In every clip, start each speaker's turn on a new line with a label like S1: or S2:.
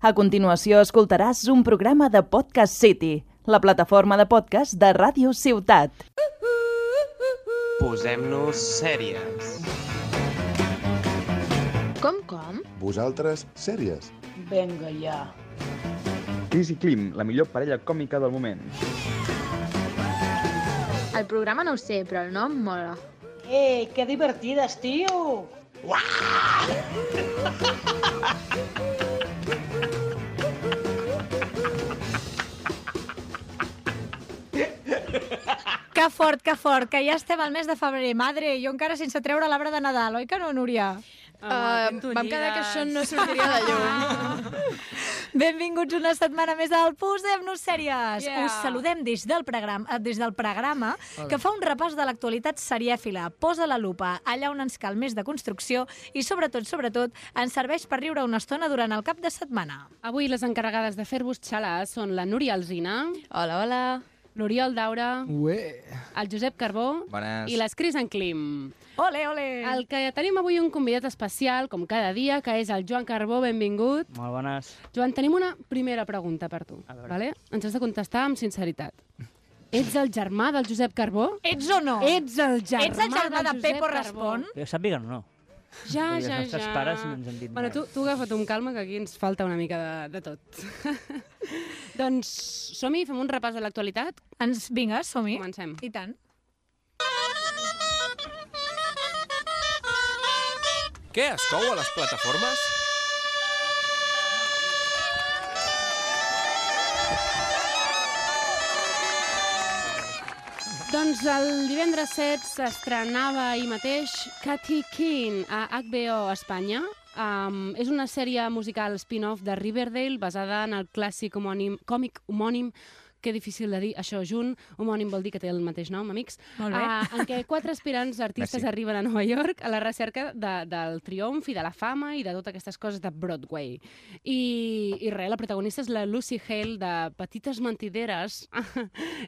S1: A continuació escoltaràs un programa de Podcast City, la plataforma de podcast de Ràdio Ciutat.
S2: Posem-nos sèries.
S3: Com, com?
S4: Vosaltres, sèries.
S5: Venga ja.
S6: Cris i Klim, la millor parella còmica del moment.
S3: El programa no ho sé, però el nom mola.
S5: ¡Ey, qué divertidas, tío!
S7: Que fort, que fort, que ja estem al mes de febrer. Madre, jo encara sense treure l'arbre de Nadal, oi que no, Núria?
S8: Uh, vam quedar que això no sortiria a la llum.
S7: Benvinguts una setmana més al Posem-nos sèries.
S8: Yeah.
S7: Us saludem des del programa, eh, des del programa que fa un repàs de l'actualitat serièfila. Posa la lupa allà on ens cal més de construcció i, sobretot, sobretot, ens serveix per riure una estona durant el cap de setmana.
S9: Avui les encarregades de fer-vos xalar són la Núria Alzina,
S8: Hola, hola.
S9: l'Oriol Daura,
S10: Ué.
S9: el Josep Carbó
S2: Bones.
S9: i les Cris en Klim.
S7: Ole, ole!
S9: El que tenim avui un convidat especial, com cada dia, que és el Joan Carbó, benvingut.
S10: Molt bones.
S9: Joan, tenim una primera pregunta per tu.
S10: A veure.
S9: Vale? Ens has de contestar amb sinceritat. Ets el germà del Josep Carbó?
S7: Ets o no?
S9: Ets el germà,
S7: Ets el germà de
S9: del Josep
S7: Pepo
S9: Carbó.
S7: Respon?
S10: Que sàpiguen o no?
S9: Ja,
S10: Vull dir,
S9: ja, ja.
S10: els nostres pares no ens han dit
S9: bueno,
S10: res.
S9: tu, tu agafa't amb calma, que aquí ens falta una mica de, de tot. doncs som-hi, fem un repàs de l'actualitat.
S7: Ens, vinga, som-hi.
S9: Comencem.
S7: I tant.
S2: Què es cou a les plataformes?
S9: Doncs el divendres 7 s'estrenava ahir mateix Cathy Keane a HBO Espanya. Um, és una sèrie musical spin-off de Riverdale basada en el clàssic homònim, còmic homònim que difícil de dir això junt, homònim vol dir que té el mateix nom, amics,
S7: Molt bé.
S9: Ah, en què quatre aspirants artistes
S2: Merci.
S9: arriben a Nova York a la recerca de, del triomf i de la fama i de totes aquestes coses de Broadway. I, i res, la protagonista és la Lucy Hale de Petites Mentideres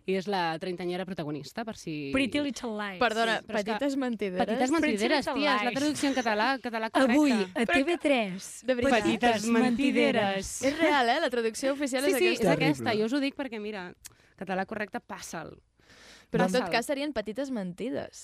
S9: i és la trentanyera protagonista, per si...
S7: Pretty Little Lies.
S8: Perdona,
S9: sí, però és que-
S8: petites mentideres?
S9: Petites Mentideres,
S7: Pretty Little
S9: tia, és la
S7: Lies.
S9: traducció en català, català correcte.
S7: Avui, a TV3.
S8: De veritat.
S9: Petites Mentideres.
S8: És real, eh? La traducció oficial és
S9: Sí, sí, és
S8: aquesta.
S9: aquesta. Jo us ho dic perquè, mira, català correcte, passa'l.
S8: Però en
S9: Basal.
S8: tot cas serien petites mentides.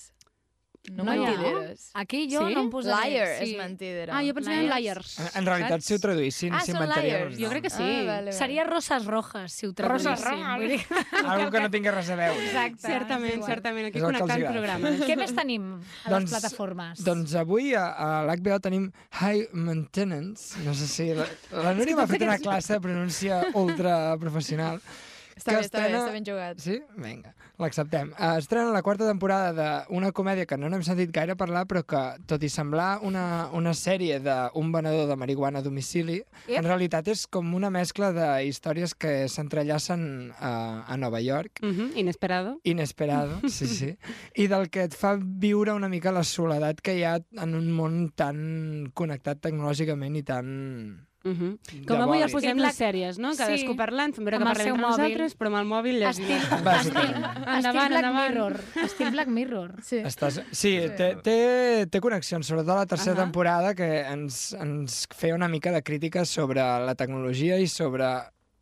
S8: No,
S9: No, no.
S8: mentideres.
S7: Aquí jo
S9: Sí?
S7: no em posaré.
S8: Liar
S7: sí.
S8: és mentidera.
S9: Ah, jo pensava en liars.
S10: En, en realitat, si ho traduïssin,
S8: Ah, són liars.
S9: Jo crec que sí.
S8: Ah, vale, vale.
S7: Seria Rosas Rojas, si ho traduïssim.
S9: Roses Rojas.
S7: Vull dir-
S10: Algú que no tingui res a veure.
S7: Exacte. és
S9: Certament,
S7: igual.
S9: certament. Aquí
S10: És el que els
S9: connectant
S10: agrada.
S9: programes.
S7: Què més tenim a les
S10: Doncs-
S7: plataformes?
S10: Doncs avui a, a l'HBO tenim High Maintenance. No sé si... La, la Núria m'ha fet una classe de pronúncia ultra professional.
S8: Està bé, està bé,
S10: estrena-
S8: està ben jugat.
S10: Sí? Vinga, l'acceptem. Eh, Estrena la quarta temporada d'una comèdia que no n'hem sentit gaire parlar, però que, tot i semblar una, una sèrie d'un venedor de marihuana a domicili, en realitat és com una mescla de històries que s'entrellacen a, a Nova York,
S9: Mhm, Inesperado.
S10: inesperado, sí, sí, i del que et fa viure una mica la soledat que hi ha en un món tan connectat tecnològicament i tan...
S9: Mhm.
S10: de
S9: Com avui
S10: bòlit.
S9: els posem
S7: Sí, clar.
S9: les sèries, no?
S7: Sí.
S9: Cadascú parlant, fem veure que
S7: Amb el
S9: parlem
S7: seu
S9: entre
S7: mòbil.
S9: nosaltres, però amb el mòbil llegim.
S7: Estil,
S10: Bàsicament.
S7: estil
S9: Endavant,
S7: Black
S9: endavant.
S7: Mirror. Estil Black Mirror.
S8: Sí.
S10: Estàs... Sí, té, té, té connexions, sobretot la tercera
S9: Ahà.
S10: temporada, que ens, ens feia una mica de crítica sobre la tecnologia i sobre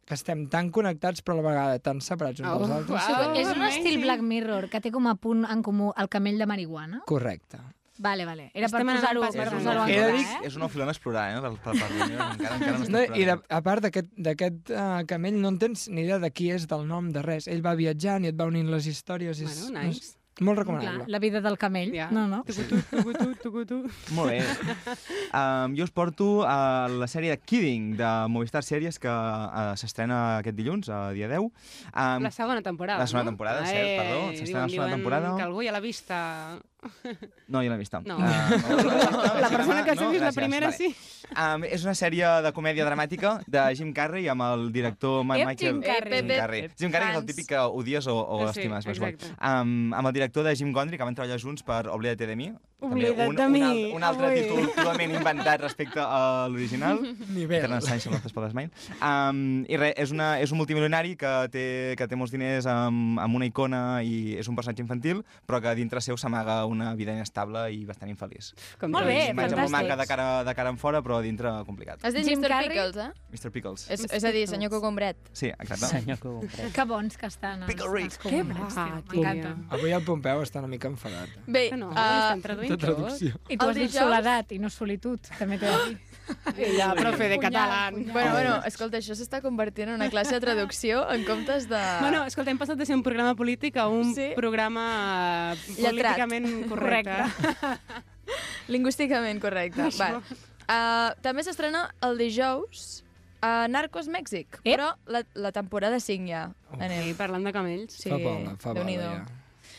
S10: que estem tan connectats però a la vegada tan separats uns
S9: Oh,
S10: dels altres.
S9: uau.
S7: és un
S9: amazing.
S7: estil Black Mirror que té com a punt en comú el camell de marihuana.
S10: Correcte.
S7: Vale, vale. Era per
S9: Estem anant
S7: posar-ho
S9: pas
S7: per
S9: per
S7: posar en
S9: pas. He
S2: He
S9: de
S2: de
S7: comú,
S9: dir-
S7: eh?
S2: és una filona a explorar, eh? Del, per, per reunió, encara, encara no,
S10: No,
S2: està
S10: I de, a part d'aquest- d'aquest uh, camell no en tens ni idea de qui és, del nom, de res. Ell va viatjant i et va unint les històries. És,
S9: Bueno, nice.
S10: és molt
S7: Clar,
S10: recomanable.
S7: la vida del camell.
S9: Ja.
S7: No, no.
S9: Tucutu, tucutu, tucutu.
S2: Molt bé. Um, jo us porto a la sèrie de Kidding, de Movistar Sèries, que uh, s'estrena aquest dilluns, a dia 10. Um,
S9: La segona temporada,
S2: La segona
S9: no?
S2: temporada, cert,
S9: Ai,
S2: perdó, s'està
S9: Eh, diuen-
S2: en la segona
S9: diuen
S2: temporada.
S9: que algú ja l'ha vista.
S2: No, jo l'he vista.
S9: Ah, No.
S2: la
S9: La persona que s'ha vist la primera, sí.
S2: Um, és una sèrie de comèdia dramàtica de Jim Carrey amb el director Ma-
S7: Ep,
S2: Michael...
S7: Jim Carrey.
S2: Jim Carrey. Jim Carrey és el
S8: Fans.
S2: típic que odies o, o
S9: Sí,
S2: estimes. més
S9: exacte.
S2: bon. Um, amb el director de Jim Gondry, que van treballar junts per Oblídate de mi,
S8: Oblida't
S2: un,
S8: de
S2: un,
S8: mi,
S2: alt, un altre
S8: avui.
S2: títol totalment inventat respecte a l'original.
S10: Nivell.
S2: Eternal Sunshine of the Spotless Mind. Um, I res, és, una, és un multimilionari que té, que té molts diners amb, amb una icona i és un personatge infantil, però que dintre seu s'amaga una vida inestable i bastant infeliç.
S9: Com
S7: Molt bé,
S2: És una imatge molt maca de
S7: fantàstic.
S2: cara, de cara en fora, però a dintre complicat.
S8: Has dit
S7: Jim
S8: Jim Mr.
S7: Carrey?
S8: Pickles, eh?
S2: Mr. Pickles.
S8: És, és a dir, senyor Cogombret.
S2: Sí, exacte.
S7: Que bons que estan. els-
S2: Pickle Rick.
S7: els comuns, tio,
S9: Ah, tio.
S7: M'encanten.
S10: Avui el Pompeu està una mica enfadat. eh?
S8: Bé,
S9: Que no,
S8: ah,
S9: estan traduint tot.
S7: I tu
S8: El
S7: has dit
S8: dijous-
S7: soledat i no solitud, també t'he de dir.
S9: Ah,
S8: ja, profe de català.
S7: punyal.
S8: Bueno, bueno, escolta, això s'està convertint en una classe de traducció en comptes de...
S9: Bueno, escolta, hem passat de ser un programa polític a un
S8: Sí.
S9: programa eh,
S8: Lletrat.
S9: políticament correcte.
S8: Lingüísticament correcte. Val. Uh, també s'estrena el dijous a Narcos Mèxic,
S7: Ep.
S8: però la, la temporada 5 ja. Anem.
S9: Sí, parlant de camells.
S8: Sí,
S10: Fa bola, fa bola,
S8: Déu-n'hi-do.
S10: ja.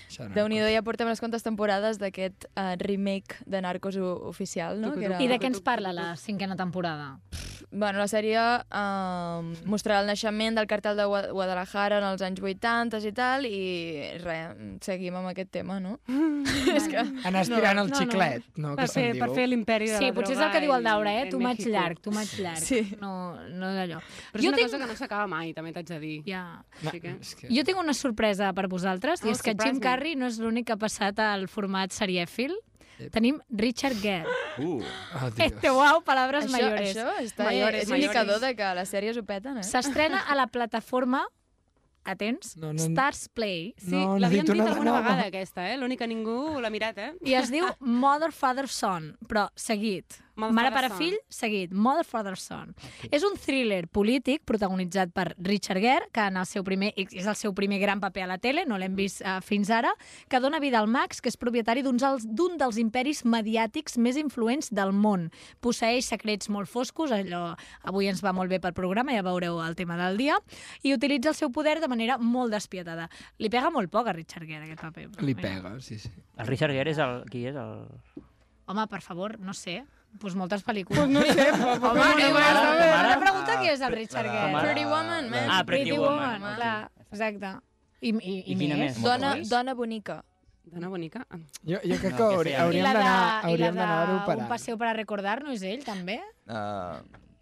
S10: Xarra.
S8: Déu-n'hi-do, ja portem unes quantes temporades d'aquest uh, remake de Narcos o- oficial, no?
S9: Tucu,
S8: Que era...
S9: tucu.
S7: I de què ens parla la cinquena temporada?
S8: Bueno, la sèrie um, mostrarà el naixement del cartel de Gua- Guadalajara en els anys 80 i tal, i res, seguim amb aquest tema, no? És que...
S10: Anar estirant el
S9: no, no.
S10: xiclet, no?
S9: Per
S10: que
S9: fer,
S10: se'n diu.
S9: per fer l'imperi de la
S7: Sí, potser és el que diu el Daura, eh? Tu maig llarg, tu maig llarg.
S8: Sí.
S7: No, no d'allò.
S9: Però és
S7: Jo
S9: una
S7: tinc...
S9: cosa que no s'acaba mai, també t'haig de dir.
S7: Ja.
S10: No,
S9: Així que-
S10: és que...
S7: Jo tinc una sorpresa per vosaltres, i
S9: Oh,
S7: és que
S9: surprise
S7: Jim
S9: me.
S7: Carrey no és l'únic que ha passat al format serièfil. Tenim Richard Gere.
S10: Oh,
S2: Uh,
S10: Dios.
S7: Este wow, palabres
S8: Això,
S7: mayores.
S8: això està,
S9: Mayores,
S8: és
S9: mayores.
S8: indicador de que les sèries ho peten, eh?
S7: S'estrena a la plataforma, atents,
S10: No, no.
S7: Stars Play,
S9: Sí,
S10: No, n'he
S9: l'havíem
S10: dit
S9: dit
S10: una
S9: alguna
S10: vegada.
S9: vegada, aquesta, eh? L'única ningú l'ha mirat, eh?
S7: i es diu Mother, Father, Son, però seguit.
S9: Mother,
S7: Mare,
S9: Father,
S7: pare,
S9: Son.
S7: fill, seguit. Mother, Father, Son. És un thriller polític protagonitzat per Richard Gere, que en el seu primer, és el seu primer gran paper a la tele, no l'hem vist eh, fins ara, que dona vida al Max, que és propietari d'uns als- d'un dels imperis mediàtics més influents del món. Posseix secrets molt foscos, allò avui ens va molt bé pel programa, ja veureu el tema del dia, i utilitza el seu poder de manera molt despietada. Li pega molt poc a Richard Gere, aquest paper. però
S10: Li
S7: bé.
S10: pega, sí, sí.
S11: El Richard Gere és el... Qui és el...
S7: Home, per favor, no sé. Pues moltes pel·lícules.
S9: No sé, però...
S7: Home, no, no,
S11: ara,
S7: no,
S11: ara.
S7: ara pregunta qui és el Richard
S11: la-
S7: Gere.
S8: Pretty Woman, man.
S11: Ah, Pretty Woman,
S8: Woman.
S7: clar, exacte. I, i, i,
S11: I quina
S7: més?
S11: més?
S8: Dona, dona bonica.
S9: Dona bonica. Ah,
S10: Jo, jo crec
S2: No,
S10: que
S2: que
S10: hauri,
S2: fem.
S7: I
S10: hauríem
S7: la de,
S10: d'anar
S7: i la
S10: hauríem d'anar a
S7: de
S10: operar.
S7: un passeu per a recordar-nos, ell també?
S2: uh,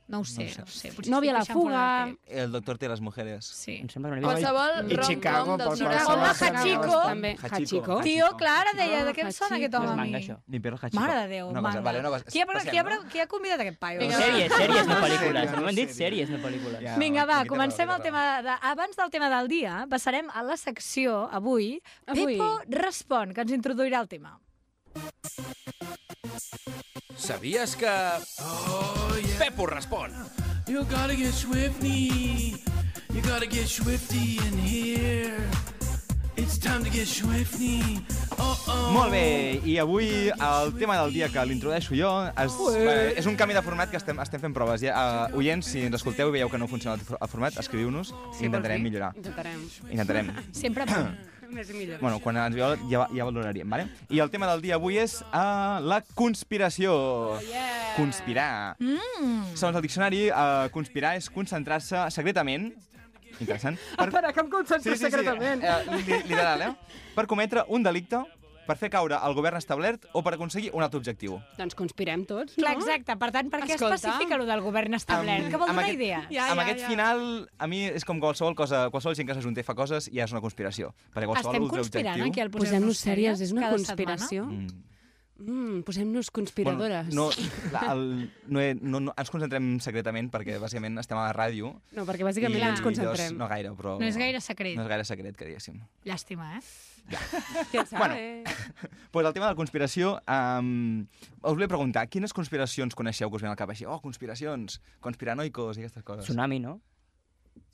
S7: No ho sé, no ho sé. potser
S9: Nòvia a la
S7: estic deixant fora
S9: fuga.
S7: del
S2: el doctor té les mujeres.
S7: temps. Sí.
S11: Em sembla que no l'he vist.
S8: Qualsevol
S10: I Chicago,
S8: rom-com dels
S10: per
S8: 90.
S7: Home,
S10: qualsevol
S7: Hachiko.
S9: També.
S2: Hachiko.
S7: Tio, Clara, deia, de què em
S9: Hachiko.
S7: sona aquest home
S11: És
S7: a
S11: manga,
S7: mi?
S11: això.
S2: Mi perro Hachiko.
S7: Mare de Déu,
S2: Una cosa,
S7: manga.
S2: vale, una cosa.
S7: qui, ha,
S2: Passem,
S7: qui, ha,
S2: no?
S7: qui ha convidat aquest paio?
S8: Vinga,
S11: Sèries, sèries, no pel·lícules.
S2: Sèries,
S11: No m'han dit
S2: sèries.
S11: sèries, no pel·lícules.
S2: Ja.
S7: Vinga, va,
S2: Aquí
S7: comencem el
S2: t'agrada,
S7: tema... De... Abans del tema del dia, passarem a la secció, avui,
S9: Avui.
S7: Pepo Respon, que ens introduirà el tema.
S11: Sabies que... Oh, yeah. Pepo respon.
S5: You gotta get swifty. You gotta get swifty in here. It's time to get swifty. Oh, oh.
S2: Molt bé, i avui el tema del dia que l'introdueixo jo es, eh, és un canvi de format que estem, estem fent proves. Ja, uh, oients, si ens escolteu i veieu que no funciona el for- el format, escriviu-nos i intentarem millorar.
S9: Intentarem.
S2: Intentarem.
S7: Sempre punt.
S9: Més i millor.
S2: Bueno, quan ens veieu ja, ja valoraríem, vale? I el tema del dia avui és uh, la conspiració.
S7: Oh,
S2: Conspirar. Mm. Segons el diccionari, uh, conspirar és concentrar-se secretament Interessant. Per... Espera, que em concentro sí, sí, secretament. Sí. Eh, li- literal, eh? Per cometre un delicte, per fer caure el govern establert o per aconseguir un altre objectiu.
S9: Doncs conspirem tots, no?
S7: Clar, exacte. Per tant, per què
S9: Escolta.
S7: especifica el del govern establert? que vol
S2: amb
S7: donar
S2: aquest-
S7: idea?
S9: Ja,
S2: amb
S9: ja,
S2: aquest
S9: ja.
S2: final, a mi és com qualsevol cosa, qualsevol gent que s'ajunta i fa coses ja és una conspiració. Perquè qualsevol
S7: Estem
S2: altre
S7: conspirant
S2: objectiu...
S7: aquí al
S9: Posem-nos sèries, és una
S7: cada
S9: conspiració.
S2: Mm.
S9: Mm, Posem-nos conspiradores.
S2: Bueno, no, la, el, no, he, no, no, ens concentrem secretament perquè bàsicament estem a la ràdio
S9: No, perquè bàsicament
S2: i
S9: ens concentrem.
S2: llavors no gaire, però...
S7: No és gaire secret.
S2: No és gaire secret, que diguéssim.
S7: Llàstima, eh?
S9: Què sabe?
S2: Bueno. Pues el tema de la conspiració, um, us volia preguntar, quines conspiracions coneixeu que us venen al cap així? Oh, conspiracions, conspiranoicos i aquestes coses.
S11: Tsunami, no?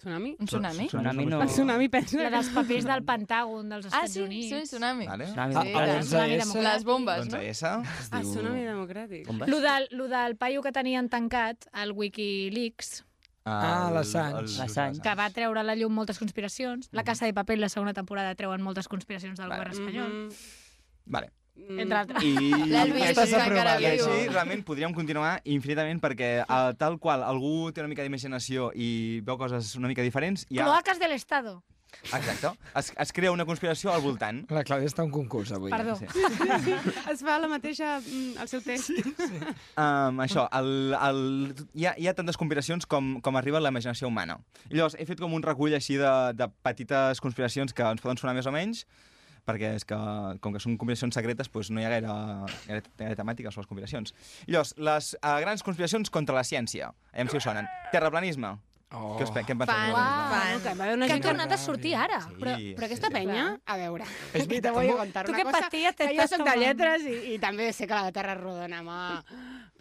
S9: Tsunami?
S8: Un tsunami?
S11: Tsunami no...
S9: El tsunami pensa...
S7: La dels papers del Pentàgon dels
S8: Ah,
S7: Estats
S8: sí,
S7: Units.
S8: sí, tsunami.
S2: Vale?
S11: Tsunami.
S8: Sí,
S11: Ah,
S8: clar.
S11: doncs,
S7: Tsunami
S10: S.
S7: democràtic.
S8: Les bombes,
S2: Doncs
S8: no?
S2: S. Es
S9: Ah,
S2: diu-
S9: tsunami democràtic.
S11: com vas?
S7: Lo del, lo del paio que tenien tancat al Wikileaks,
S10: Ah,
S2: el-
S10: l'Assange.
S2: el-
S11: L'Assange.
S7: que va treure a la llum moltes conspiracions.
S2: Mm.
S7: La Casa de Paper, la segona temporada, treuen moltes conspiracions del
S2: Vale.
S7: govern espanyol.
S9: Mm,
S2: Vale.
S7: Mm-hmm. Entre altres.
S2: I...
S8: L'Elvis
S10: Estàs
S8: està encara
S10: aprovat,
S2: I
S8: viu.
S2: així realment podríem continuar infinitament perquè eh, tal qual algú té una mica d'imaginació i veu coses una mica diferents hi ha
S7: Cloaques de l'Estado.
S2: Exacte. Es, es crea una conspiració al voltant.
S10: La Clàudia està a un concurs avui.
S9: Perdó. es fa la mateixa, mm, el seu test.
S2: Um, això, el, el, hi, ha, hi ha tantes conspiracions com, com arriba a la imaginació humana. I llavors, he fet com un recull així de, de petites conspiracions que ens poden sonar més o menys, perquè és que, com que són conspiracions secretes, doncs no hi ha gaire, gaire, gaire temàtica sobre les conspiracions. I llavors, les uh, grans conspiracions contra la ciència. Aviam si us sonen. Terraplanisme.
S10: Oh.
S2: Què, us, pe- què en penseu?
S7: Fan,
S2: del terraplanisme?
S7: fan.
S9: Que va haver una
S7: Que han
S9: gent que-
S7: tornat a sortir ara.
S9: Però,
S2: Sí,
S9: però aquesta penya, a veure,
S10: És
S9: que te
S10: veritat,
S9: voy a
S10: tampoc-
S9: contar
S7: Tu
S9: una
S7: què
S9: cosa,
S7: pastillas te
S9: que jo
S7: estàs
S9: soc de
S7: tomant?
S9: lletres i, i també sé que la Terra és rodona, mà.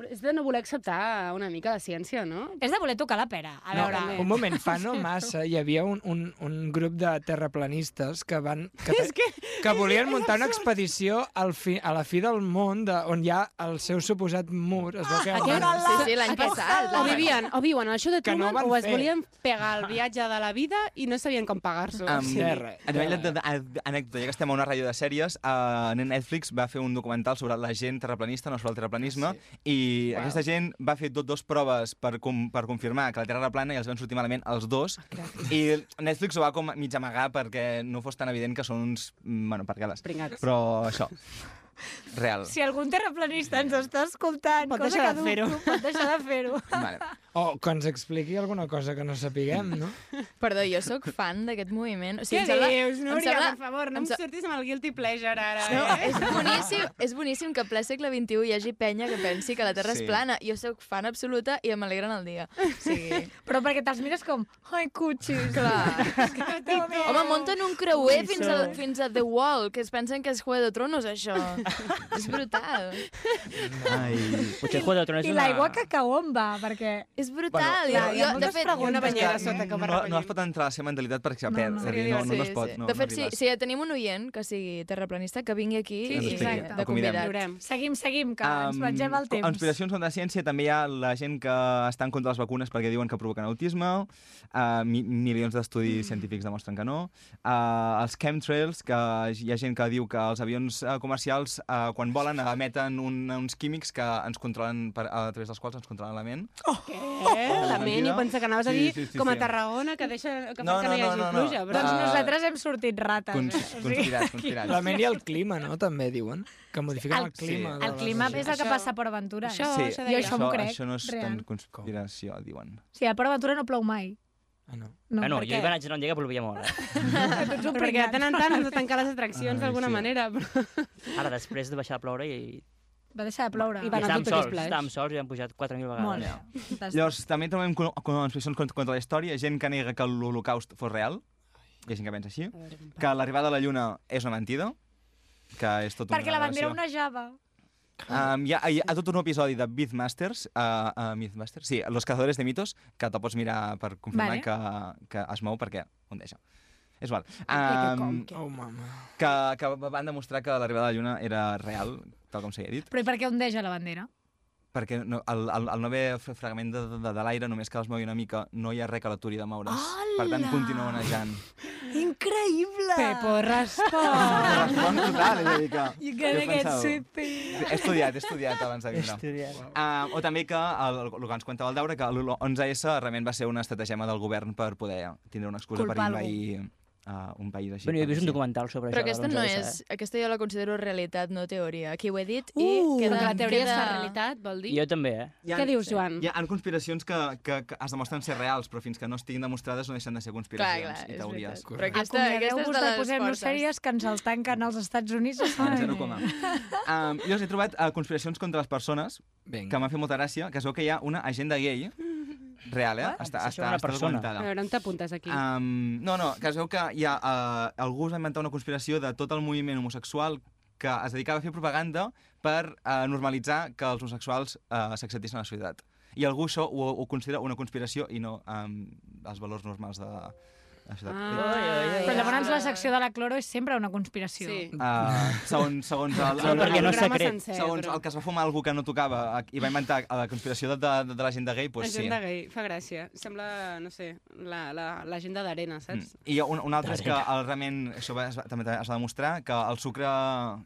S9: Però és de no voler acceptar una mica de ciència, no?
S7: És de voler tocar la pera. A
S10: No,
S7: veure...
S10: un moment, fa no massa hi havia un, un, un grup de terraplanistes que van... Que, que, que volien muntar una expedició al fi, a la fi del món de, on hi ha el seu suposat mur. Es veu que el van-
S7: Ojalá.
S8: Sí, sí, l'any
S9: Aquest-
S8: passat.
S9: O vivien, o viuen en això de
S10: Que no
S9: Truman
S10: van
S9: o es
S10: fer.
S9: volien pegar el viatge de la vida i no sabien com pagar-s'ho.
S2: Um,
S10: Sí. Terra,
S2: a nivell
S10: terra.
S2: de- de- a- d'anècdota, ja que estem a una ràdio de sèries, uh, Netflix va fer un documental sobre la gent terraplanista, no sobre el terraplanisme, i aquesta gent va fer tot dos proves per, com, per confirmar que la Terra era plana i els van sortir malament els dos, i Netflix ho va com mig amagar perquè no fos tan evident que són uns... mm, Bueno, perquè les...
S9: Pringats.
S2: Però això, real.
S7: Si algun terraplanista ens està escoltant,
S9: Pot
S7: cosa
S9: deixar
S7: que
S9: de fer-ho.
S7: dubto, pot deixar de fer-ho.
S2: Vale.
S10: O que ens expliqui alguna cosa que no sapiguem, no?
S8: Perdó, jo sóc fan d'aquest moviment. O
S9: Què
S8: sigui, em sembla-
S9: dius,
S8: em
S9: Núria,
S8: sembla-
S9: per favor, no
S8: em
S9: em
S8: se-
S9: sortis amb el guilty pleasure ara.
S8: No,
S9: eh?
S8: és boníssim, és boníssim que a ple segle XXI hi hagi penya que pensi que la Terra
S2: Sí.
S8: és plana. Jo sóc fan absoluta i em alegren el dia. O sigui...
S7: Però perquè te'ls mires com... "Ah, Ai, cuchis.
S8: Clar. Home, munten un creuer fins a,
S9: sóc.
S8: fins a The Wall, que es pensen que és Juego de Tronos, això. és brutal.
S2: Ai.
S12: Potser Juego de Tronos
S7: I
S12: és una...
S7: l'aigua que cau on va, perquè...
S8: És brutal.
S7: Clar, hi ha
S8: jo, de
S7: moltes
S8: fet,
S7: preguntes.
S9: Una banyera sota que
S2: No,
S9: va
S2: no
S9: repellant.
S2: es pot entrar a la seva mentalitat perquè s'ha
S7: No,
S2: perd.
S7: no.
S2: és a dir, No, no, no es pot. No,
S8: de fet,
S2: no
S8: si,
S2: arribes.
S8: si ja tenim un oient que sigui terraplanista, que vingui aquí
S9: Sí, doncs
S8: i,
S2: exacte.
S8: de
S2: El convidem.
S8: convidat.
S9: Veurem.
S7: Seguim, seguim, que ens
S2: Em,
S7: mengem el
S2: co-
S7: temps.
S2: Conspiracions contra la ciència, també hi ha la gent que està en contra de les vacunes perquè diuen que provoquen autisme, uh, mi milions
S7: Mm.
S2: d'estudis científics demostren que no, uh, els chemtrails, que hi ha gent que diu que els avions uh, comercials, uh, quan volen, emeten un, uns químics que ens controlen, per, a través dels quals ens controlen la ment.
S9: Què? Eh? La ment, jo pensava que anaves a
S2: Sí,
S9: dir
S2: sí, sí,
S9: com a
S2: sí.
S9: Tarragona, que, deixa, que
S2: No,
S9: fa que
S2: no,
S9: no hi
S2: no,
S9: hagi
S2: no, no.
S9: pluja. Però...
S7: Doncs
S2: Ah.
S7: nosaltres hem sortit rates.
S2: Cons
S7: eh? O sigui,
S2: conspirats,
S7: aquí-
S2: conspirats.
S10: La ment i el clima, no? També diuen. Que modifiquen
S7: El-
S10: el, clima.
S2: Sí.
S10: de
S7: El
S10: les
S7: clima
S10: regions.
S7: és el que
S9: Això-
S7: passa a Port Aventura.
S9: això-
S7: eh?
S9: s'ha de
S7: jo
S9: dir.
S7: això m'ho crec,
S2: això no és
S7: real.
S2: tan conspiració, diuen.
S7: O sigui, a Port Aventura no plou mai.
S10: Ah, no.
S12: No, ah, no,
S7: perquè...
S12: jo hi vaig anar un dia que plovia molt. eh?
S7: Ets un
S9: Però perquè de
S7: pringat.
S9: tant en tant hem de tancar les atraccions d'alguna
S2: sí.
S9: manera. Però...
S12: Ara, després de baixar a ploure i...
S7: Va deixar de ploure.
S9: I va anar
S12: estàvem
S9: tot aquest
S12: sols,
S9: plaig.
S12: estàvem sols i hem pujat 4.000 vegades.
S7: Molt bé. Fantàstic.
S2: Llavors, també trobem con- conspiracions contra, contra la història, gent que nega que l'Holocaust fos real, hi ha gent que pensa així, que l'arribada a la Lluna és una mentida, que és tot
S7: Perquè
S2: una
S7: la bandera
S2: gravació.
S7: onejava.
S2: Um, hi, ha, hi ha tot un episodi de Mythmasters, uh, uh, Mythmasters, sí, Los Cazadores de Mitos, que te'l pots mirar per confirmar
S7: Vale.
S2: que, que es mou perquè ondeja. És val.
S9: que com,
S2: Um,
S10: Oh, mama.
S2: que, que van demostrar que l'arribada a la Lluna era real, tal com s'havia dit,
S7: Però i per què ondeja la bandera?
S2: perquè no, el, el, el no haver fra- fragment de, de, de l'aire, només que els mogui una mica, no hi ha res que l'aturi de moure's. Per tant,
S7: Hola!
S2: continua onejant.
S7: Increïble!
S9: Pepo, respon!
S2: Respon total, és a dir que...
S7: You
S2: jo
S7: gotta get
S2: pensava-
S7: sippy.
S2: He estudiat, he estudiat abans de vindre.
S12: Estudiat.
S2: Uh, o també que, el, el, que ens comentava el Daura, que l'11S realment va ser una estratagema del govern per poder tindre una excusa
S7: Culpar
S2: per invair uh, un país així.
S12: Bueno, jo he vist un
S2: Sí.
S12: documental sobre
S8: Però
S12: això.
S8: aquesta no
S12: l'11S,
S8: és... Aquesta jo la considero realitat, no teoria. Aquí ho he dit i
S7: Uh,
S8: queda...
S9: Perquè la teoria
S8: queda...
S9: es fa realitat, vol
S12: Eh?
S9: dir?
S12: Jo també, eh?
S2: Hi ha-
S9: Què dius, Joan?
S2: Hi ha, hi ha conspiracions que, que, que es demostren ser reals, però fins que no estiguin demostrades no deixen de ser
S8: Clar,
S2: conspiracions
S8: clar,
S2: i
S8: és
S2: teories.
S8: veritat. Però aquesta, aquesta és
S7: Acomiadeu-vos
S8: de
S7: de
S8: les
S7: posem-nos
S8: fortes.
S7: sèries que ens el tanquen als Estats Units.
S2: Ah, zero coma. Um, jo us he trobat uh, conspiracions contra les persones, que
S10: Vinga.
S2: m'ha fet molta gràcia, que es veu que hi ha una agenda gay real, eh?
S12: Ah,
S2: està,
S12: això
S2: està,
S12: una
S2: està
S12: persona.
S9: A
S2: documentada.
S9: veure, on t'apuntes aquí?
S2: Um, no, no, que es veu que hi ha, uh, algú es va inventar una conspiració de tot el moviment homosexual que es dedicava a fer propaganda per uh, normalitzar que els homosexuals uh, s'acceptessin a la societat. I algú això ho, ho considera una conspiració i no um, els valors normals de la societat.
S7: Però llavors la secció de la Cloro és sempre una conspiració.
S9: Sí.
S2: Uh, segons, segons el,
S12: No, perquè no és
S9: programa
S12: secret.
S9: sencer,
S2: segons
S9: però-
S2: el que es va fumar algú que no tocava eh, i va inventar la conspiració de, de, de la gent de gay, doncs sí.
S9: Agenda gay, fa gràcia. Sembla, no sé, la- la- l'agenda d'arena, saps?
S2: Mm. I hi ha un, un altre és que el, realment, això va, es va, també es va demostrar, que el sucre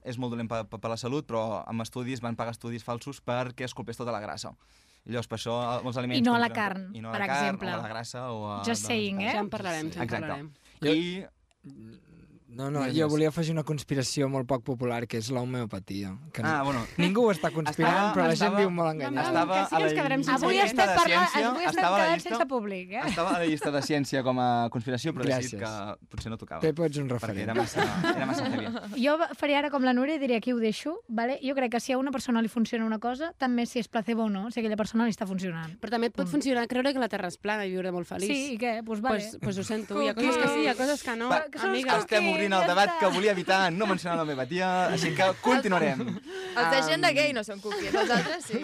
S2: és molt dolent per, per, per la salut, però amb estudis van pagar estudis falsos perquè es culpés tota la grassa. I llavors, per això, eh, molts aliments...
S7: I no a la
S2: compren-
S7: carn,
S2: I no a
S7: per
S2: la carn,
S7: exemple.
S2: o a la grassa, o a...
S7: Just saying, eh?
S9: Ja en parlarem, ja en
S2: Exacte.
S9: parlarem.
S2: I
S10: No, no, jo
S2: Digues, digues.
S10: volia afegir una conspiració molt poc popular, que és l'homeopatia. Que
S2: Ah, bueno.
S10: Ningú ho està conspirant, però la gent viu molt enganyada.
S2: Estava
S9: que sí que
S2: a la
S9: ens quedarem
S2: llista
S9: sense
S7: Avui
S2: de
S7: estem parlant,
S2: ciència,
S7: avui estem
S2: estava a la
S7: quedant
S2: llista-
S7: sense públic, eh?
S2: Estava a la llista de ciència com a conspiració, però he
S10: Gràcies.
S2: decidit que potser no tocava.
S10: Té, pots un referent.
S2: Perquè era massa, era massa heavy.
S7: Jo faré ara com la Núria i diré aquí ho deixo, vale? jo crec que si a una persona li funciona una cosa, també si és placebo o no, si a aquella persona li està funcionant.
S9: Però també et pot
S7: Punt.
S9: funcionar creure que la Terra és plana i viure molt feliç.
S7: Mm. Sí, i què? Pues vale.
S9: Pues, pues ho sento, hi ha coses que sí, hi ha coses que no.
S2: Va,
S9: amiga.
S2: estem obrint el debat que volia evitar no mencionar l'homeopatia, així que continuarem.
S8: Els de gent de gay no són cookies, els altres sí.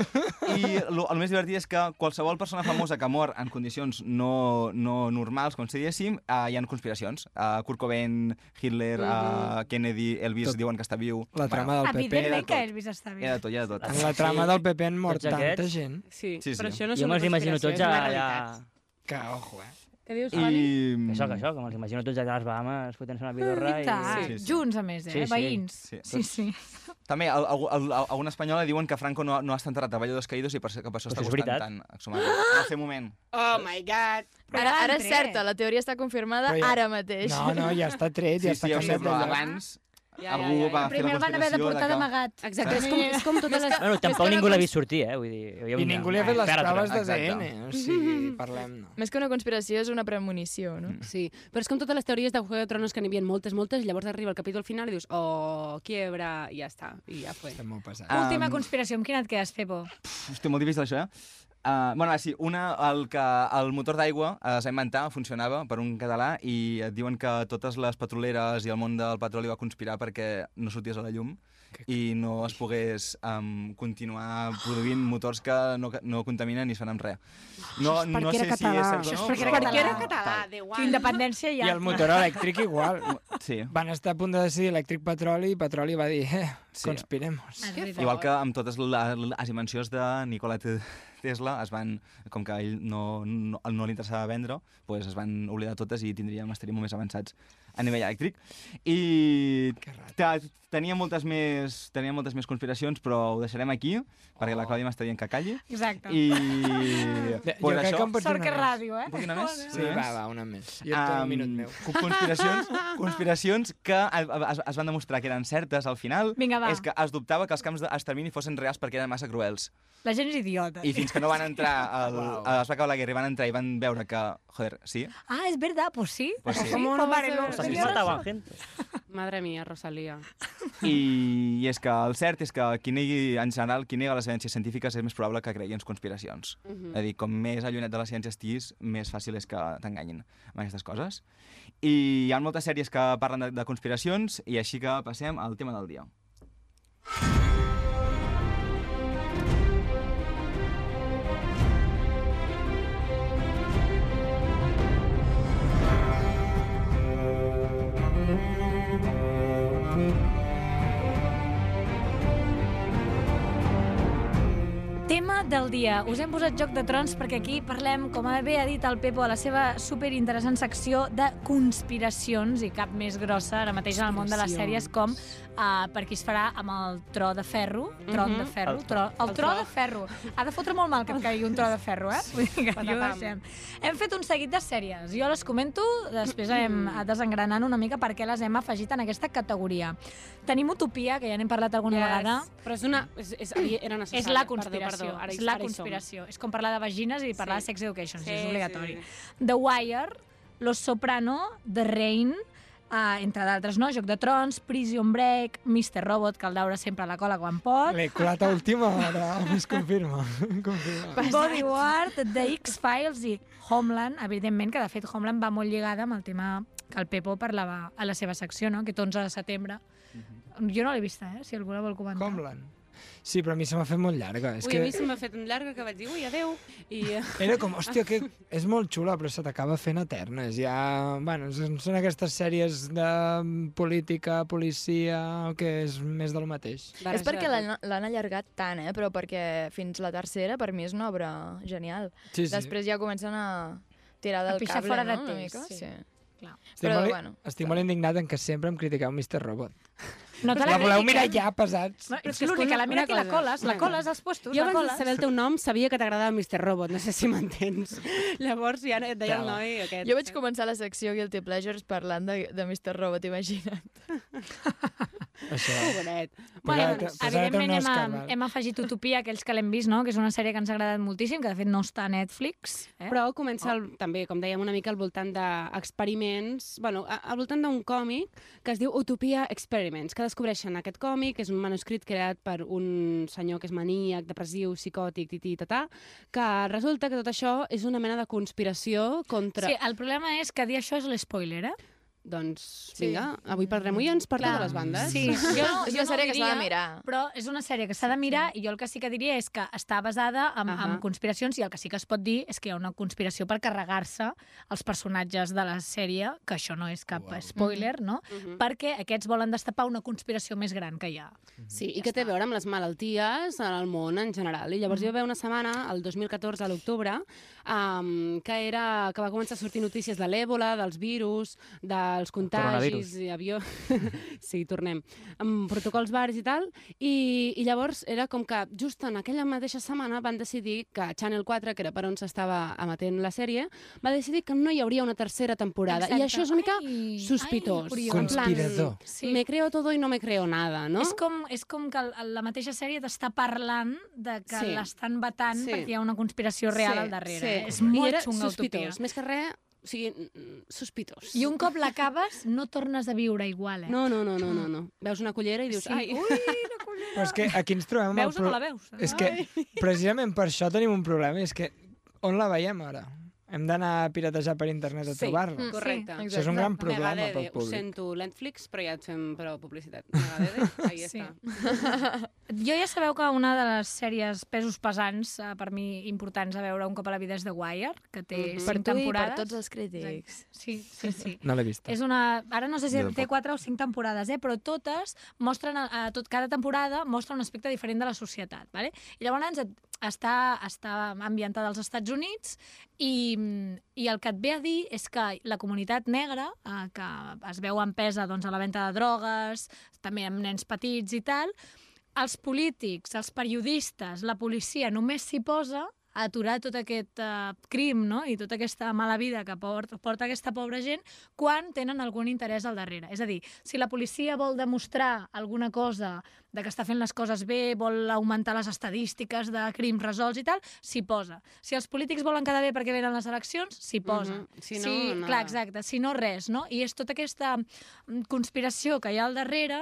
S2: I lo- el més divertit és que qualsevol persona famosa que mor en condicions no, no normals, com si diguéssim, eh, hi ha conspiracions. Uh, Kurt Cobain, Hitler, uh, Kennedy, Elvis
S10: Tot.
S2: diuen que està viu.
S10: La trama del PP.
S7: Evidentment que
S2: Era tot.
S7: Elvis està bé.
S2: Era tot, era tot.
S10: En la trama del PP han mort
S12: Tots aquests?
S10: tanta gent.
S9: Sí,
S2: Sí, però sí. això
S12: no Jo és una me'ls imagino conspiració, tots és una allà- realitat.
S10: Que ojo, eh?
S9: Què dius,
S2: I...
S12: Que això, que això, com els imagino tots allà a les Bahamas fotent-se una bidorra
S7: I
S12: i...
S7: tant, junts a més, eh?
S2: Sí, sí.
S7: Veïns.
S2: Sí.
S7: Ah, sí, sí.
S2: També, al- al- al- a, a una espanyola diuen que Franco no, no ha estat enterrat a Valladolid Caídos i per, que per això
S12: Però
S2: està
S12: això és
S2: costant
S12: veritat.
S2: tant exhumar. Ah! Al seu moment.
S9: Oh my god.
S8: Ara, ara és certa, la teoria està confirmada
S2: Però ja-
S8: ara mateix.
S10: No, no, ja està tret, ja
S2: Sí,
S10: està
S2: sí, ja ho sé,
S10: caçat
S2: però
S10: d'allà.
S2: abans
S9: Ja,
S2: algú
S9: ja, ja.
S2: va eh? fer
S7: Primer
S2: la
S7: el van haver de
S2: conspiració
S7: portar
S2: que-
S7: d'amagat.
S9: Exacte, és com, és com totes les...
S12: Bueno, tampoc
S9: és que
S12: ningú
S9: la
S12: l'ha vist sortir, eh? Vull dir, hi havia
S10: I
S12: una-
S10: ningú li ha fet les
S12: Espera, però-
S10: proves
S12: Exacte.
S10: d'ADN, o sigui, parlem, no.
S8: Més que una conspiració, és una premonició, no?
S9: Sí, però és com totes les teories de Juego de Tronos que n'hi havia moltes, moltes, i llavors arriba el capítol final i dius, oh, quiebra, i ja està, i ja fue.
S10: Estem molt pesats.
S2: Ah,
S7: Última
S2: mm.
S7: conspiració, amb quina et quedes, Fepo?
S2: Hòstia, molt difícil això, eh? Uh, bueno, va, sí, una, el que el motor d'aigua eh, es va inventar, funcionava per un català i et diuen que totes les petroleres i el món del petroli va conspirar perquè no sorties a la llum i no es pogués um, continuar produint motors que no, ca- no contaminen ni es fan amb res. No,
S7: Això és
S2: no
S7: perquè
S2: sé
S7: era
S2: si
S7: català.
S2: és cert o
S7: Això és
S2: no,
S7: perquè era
S2: però-
S7: català. Perquè era
S9: Català, de
S7: Que independència ja.
S10: I el motor elèctric igual.
S2: Sí.
S10: Van estar a punt de decidir elèctric petroli i petroli va dir, eh, conspiremos.
S2: Igual que amb totes la- les invencions de Nikola Te- Tesla, es van, com que a ell no, no, no li interessava vendre, pues es van oblidar totes i tindríem, estaríem molt més avançats a nivell elèctric. I te- tenia moltes, més, tenia moltes més conspiracions, però ho deixarem aquí, perquè la Clàudia m'està dient que calli.
S7: Exacte.
S2: I...
S10: Oh. jo crec que em pots
S7: Sort que
S10: donar
S7: és
S10: més.
S7: ràdio, eh?
S2: Puc donar més?
S10: Sí, va, va, una més. Jo et dono un minut meu.
S2: co- Conspiracions, conspiracions que a- es, es van demostrar que eren certes al final.
S7: Vinga, va.
S2: És que es dubtava que els camps d'extermini fossin reals perquè eren massa cruels.
S7: La gent és idiota.
S2: I fins que no van entrar, al, wow. es va acabar la guerra i van entrar i van veure que, joder, sí,
S7: Ah, és verdad, pues sí.
S2: pues sí.
S9: ¿Cómo no
S7: vale,
S9: vas a
S7: no,
S9: ver?
S12: Hasta si
S7: tenia
S12: mataban gente.
S9: Madre mía, Rosalía.
S2: I, I és que el cert és que qui negui, en general, qui nega les evidències científiques és més probable que cregui en conspiracions.
S9: Mhm.
S2: És a dir, com més allunyat de la ciència estiguis, més fàcil és que t'enganyin amb aquestes coses. I hi ha moltes sèries que parlen de, de conspiracions i així que passem al tema del dia.
S7: Tema del dia. Us hem posat Joc de Trons perquè aquí parlem, com bé ha dit el Pepo, a la seva superinteressant secció de conspiracions i cap més grossa ara mateix en el món de les sèries com uh, per qui es farà amb el tro de ferro, tron
S9: Mhm.
S7: de ferro,
S12: El
S7: tro, el
S9: El
S7: tro
S9: tro.
S7: de ferro. Ha de fotre molt mal que et caigui un tro de ferro, eh? Vull dir que aquí ho
S9: Patatam.
S7: deixem. Hem fet un seguit de sèries. Jo les comento, després anem
S9: Mm.
S7: desengranant una mica per què les hem afegit en aquesta categoria. Tenim Utopia, que ja n'hem parlat alguna vegada.
S9: Però és una... És, és, era necessari.
S7: És la conspiració.
S9: Perdó, perdó. Ara,
S7: és la
S9: ara hi som.
S7: conspiració. És com parlar de vagines i parlar
S9: Sí.
S7: de sex education.
S9: Sí,
S7: és obligatori.
S9: sí,
S7: The Wire, Los Soprano, The Rain, uh, entre d'altres, no? Joc de Trons, Prison Break, Mr. Robot, que el Daura sempre la cola quan pot,
S10: L'he colat a última hora, es confirma. confirma.
S7: Bodyguard, The X-Files i Homeland, evidentment, que de fet Homeland va molt lligada amb el tema que el Pepo parlava a la seva secció, no? aquest 11 de setembre.
S9: Mhm.
S7: Jo no l'he vista, eh? si algú la vol comentar.
S10: Homeland. Sí, però a mi se m'ha fet molt llarga. És
S9: Ui, a mi se
S10: que
S9: m'ha fet un llarg que vaig dir, ui, adeu. I... eh,
S10: era com, hòstia, que és molt xula, però se t'acaba fent eterna. És ja... Bueno, són són aquestes sèries de política, policia, que és més del mateix.
S8: És perquè l'han l'han allargat tant, eh? però perquè fins la tercera per mi és una obra genial.
S10: Sí, sí.
S8: Després ja comencen a tirar del
S7: A pixar
S8: cable,
S7: fora de
S8: no? Una
S7: temps,
S8: mica,
S7: sí. Clar.
S10: Estic,
S8: Però,
S10: molt,
S8: bueno,
S10: estic molt indignat en que sempre em critiqueu Mr. Robot.
S7: No te
S10: la
S7: la
S10: voleu
S7: critiquem.
S10: mirar ja, pesats.
S7: No, és que és l'única, la mira que la coles, la coles als postos,
S9: Jo
S7: la
S9: abans de
S7: coles.
S9: saber el teu nom sabia que t'agradava Mr. Robot, no sé si m'entens. Llavors ja et deia el noi aquest.
S8: Jo vaig començar la secció Guilty Pleasures parlant de, de Mr. Robot, imagina't.
S10: Això.
S9: Pobret.
S10: Posa't-
S7: Bueno, doncs,
S10: posa't un
S7: evidentment hem,
S10: Òscar, val.
S7: hem afegit Utopia, aquells que l'hem vist, no? que és una sèrie que ens ha agradat moltíssim, que de fet no està a Netflix. Eh?
S9: Però comença el, també, com dèiem, una mica al voltant d'experiments, bueno, a, al voltant d'un còmic que es diu Utopia Experiments, que descobreixen aquest còmic, és un manuscrit creat per un senyor que és maníac, depressiu, psicòtic, tití, tatà, que resulta que tot això és una mena de conspiració contra...
S7: Sí, el problema és que dir això és l'espoiler, eh?
S9: Doncs, vinga, avui parlem i ens parlem de les bandes.
S7: Sí, jo, no,
S8: És una
S7: jo no
S8: sèrie
S7: ho
S8: que s'ha de
S7: diria,
S8: mirar.
S7: Però és una sèrie que s'ha de mirar i jo el que sí que diria és que està basada en, uh -huh. en
S9: Ahà.
S7: conspiracions i el que sí que es pot dir és que hi ha una conspiració per carregar-se els personatges de la sèrie, que això no és cap spoiler, no? Perquè aquests volen destapar una conspiració més gran que hi ha.
S9: Sí, i que té a veure amb les malalties en el món en general. I
S7: Mm.
S9: llavors hi va haver una setmana, el 2014, a l'octubre, um, que, era, que va començar a sortir notícies de l'èbola, dels virus, dels contagis...
S13: coronavirus.
S9: I avió... sí, tornem. Amb protocols bars i tal. I, I llavors era com que just en aquella mateixa setmana van decidir que Channel 4, que era per on s'estava emetent la sèrie, va decidir que no hi hauria una tercera temporada.
S7: Exacte.
S9: I això és una mica sospitós.
S7: curiós.
S9: En plan,
S10: Conspirador.
S7: Sí.
S9: Me creo todo y no me creo nada, no?
S7: És com, és com que el- la mateixa sèrie t'està parlant de que
S9: Sí.
S7: sí. l'estan vetant
S9: Sí.
S7: sí. perquè hi ha una conspiració real
S9: Sí,
S7: al darrere. eh?
S9: sí.
S7: Sí. És
S9: I
S7: molt
S9: era
S7: xunga utopia.
S9: sospitós, més que res, o sigui, mm, sospitós.
S7: I un cop l'acabes, no tornes a viure igual, eh?
S9: No, no, no, no, no, no. Veus una cullera i dius,
S7: Sí.
S9: ai... uh,
S10: Però és que aquí ens trobem... amb el
S7: Veus o no la veus?
S10: És que precisament per això tenim un problema, és que on la veiem ara? Hem d'anar a piratejar per internet a trobar-la.
S9: Mm, correcte.
S10: Això és un gran problema
S9: Megadede,
S10: pel
S9: Ho
S10: públic.
S9: sento, Netflix, però ja et fem però publicitat. Megadede, ahí
S7: Sí.
S9: està.
S7: Jo ja sabeu que una de les sèries pesos pesants, eh, per mi importants a veure un cop a la vida, és The Wire, que té
S8: Mhm.
S7: cinc
S8: Per tu i per
S7: temporades.
S8: tots els crítics.
S7: Sí, sí, sí.
S10: No l'he vista.
S7: És una... Ara no sé si
S10: Jo tampoc.
S7: té quatre o cinc temporades, eh? però totes mostren, a, a tot, cada temporada mostra un aspecte diferent de la societat. Vale? I llavors et, està, està ambientada als Estats Units i, i el que et ve a dir és que la comunitat negra, eh, que es veu empesa doncs, a la venda de drogues, també amb nens petits i tal, els polítics, els periodistes, la policia només s'hi posa a aturar tot aquest uh, crim no? i tota aquesta mala vida que porta, porta aquesta pobra gent quan tenen algun interès al darrere. És a dir, si la policia vol demostrar alguna cosa de que està fent les coses bé, vol augmentar les estadístiques de crims resolts i tal, s'hi posa. Si els polítics volen quedar bé perquè venen les eleccions, s'hi posa.
S9: Mhm. Si no,
S7: si,
S9: nada.
S7: Clar, exacte. Si no, res. No? I és tota aquesta mm, conspiració que hi ha al darrere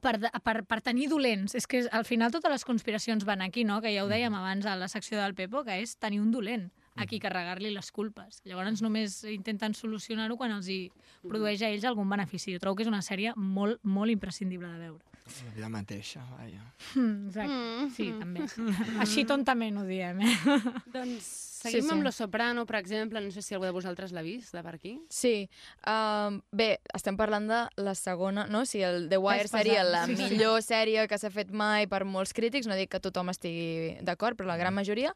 S7: per, de- per, per tenir dolents. És que al final totes les conspiracions van aquí, no? Que ja ho dèiem
S8: Mm-hmm.
S7: abans a la secció del Pepo, que és tenir un dolent a qui carregar-li les culpes. Llavors només intenten solucionar-ho quan els hi produeix a ells algun benefici. Jo trobo que és una sèrie molt, molt imprescindible de veure.
S10: La vida mateixa, vaja.
S7: Mm, Exacte.
S9: Mm.
S7: Sí, també. Així tontament ho diem, eh?
S9: doncs Seguim amb Lo Soprano, per exemple. No sé si algú de vosaltres l'ha vist, de per aquí.
S8: Sí. Um, bé, estem parlant de la segona, no? Si el The Wire
S9: Pes pesant,
S8: seria la
S9: sí, sí.
S8: millor sèrie que s'ha fet mai per molts crítics, no dic que tothom estigui d'acord, però la gran majoria,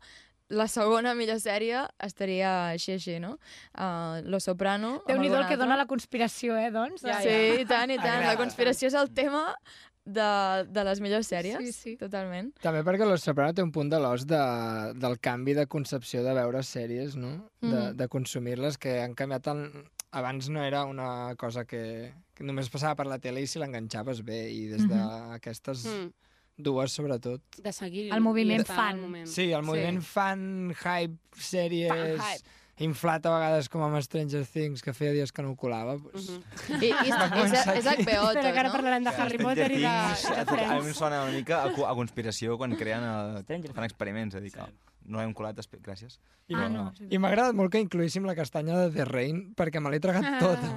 S8: la segona millor sèrie estaria així, així, no? Uh, Lo Soprano... amb
S7: Déu-n'hi-do el
S8: alguna
S7: que
S8: altra.
S7: dona la conspiració, eh, doncs?
S8: Sí, i tant, i tant. La conspiració és el tema de, de les millors sèries. Sí, sí. Totalment.
S10: També perquè Los Soprano té un punt de l'os de, del canvi de concepció de veure sèries, no? De,
S9: Mm-hmm.
S8: Mhm.
S10: de consumir-les, que han canviat... El... Abans no era una cosa que, que només passava per la tele i si l'enganxaves bé, i des
S7: Mhm.
S10: d'aquestes
S9: Mm.
S10: dues, sobretot.
S9: De seguir...
S7: El moviment
S9: i estar
S7: fan.
S9: al moment.
S10: Sí, el moviment fan, hype, sèries...
S9: Fan-hype.
S10: Inflat a vegades com amb Stranger Things, que feia dies que no ho colava. Pues...
S8: I, i és, és, és HBO, tot,
S9: Espera, que ara
S8: no?
S9: parlarem de Harry Potter i de, i de
S2: A mi em
S9: Friends.
S2: sona una mica a, co- a conspiració quan creen el, fan experiments, és a dir que no hem colat, espe- gràcies.
S10: I,
S9: Ah,
S8: Ah,
S2: Però
S10: I m'ha agradat molt que incloïssim la castanya de The Rain, perquè me l'he
S9: Ah.
S10: tragat tota.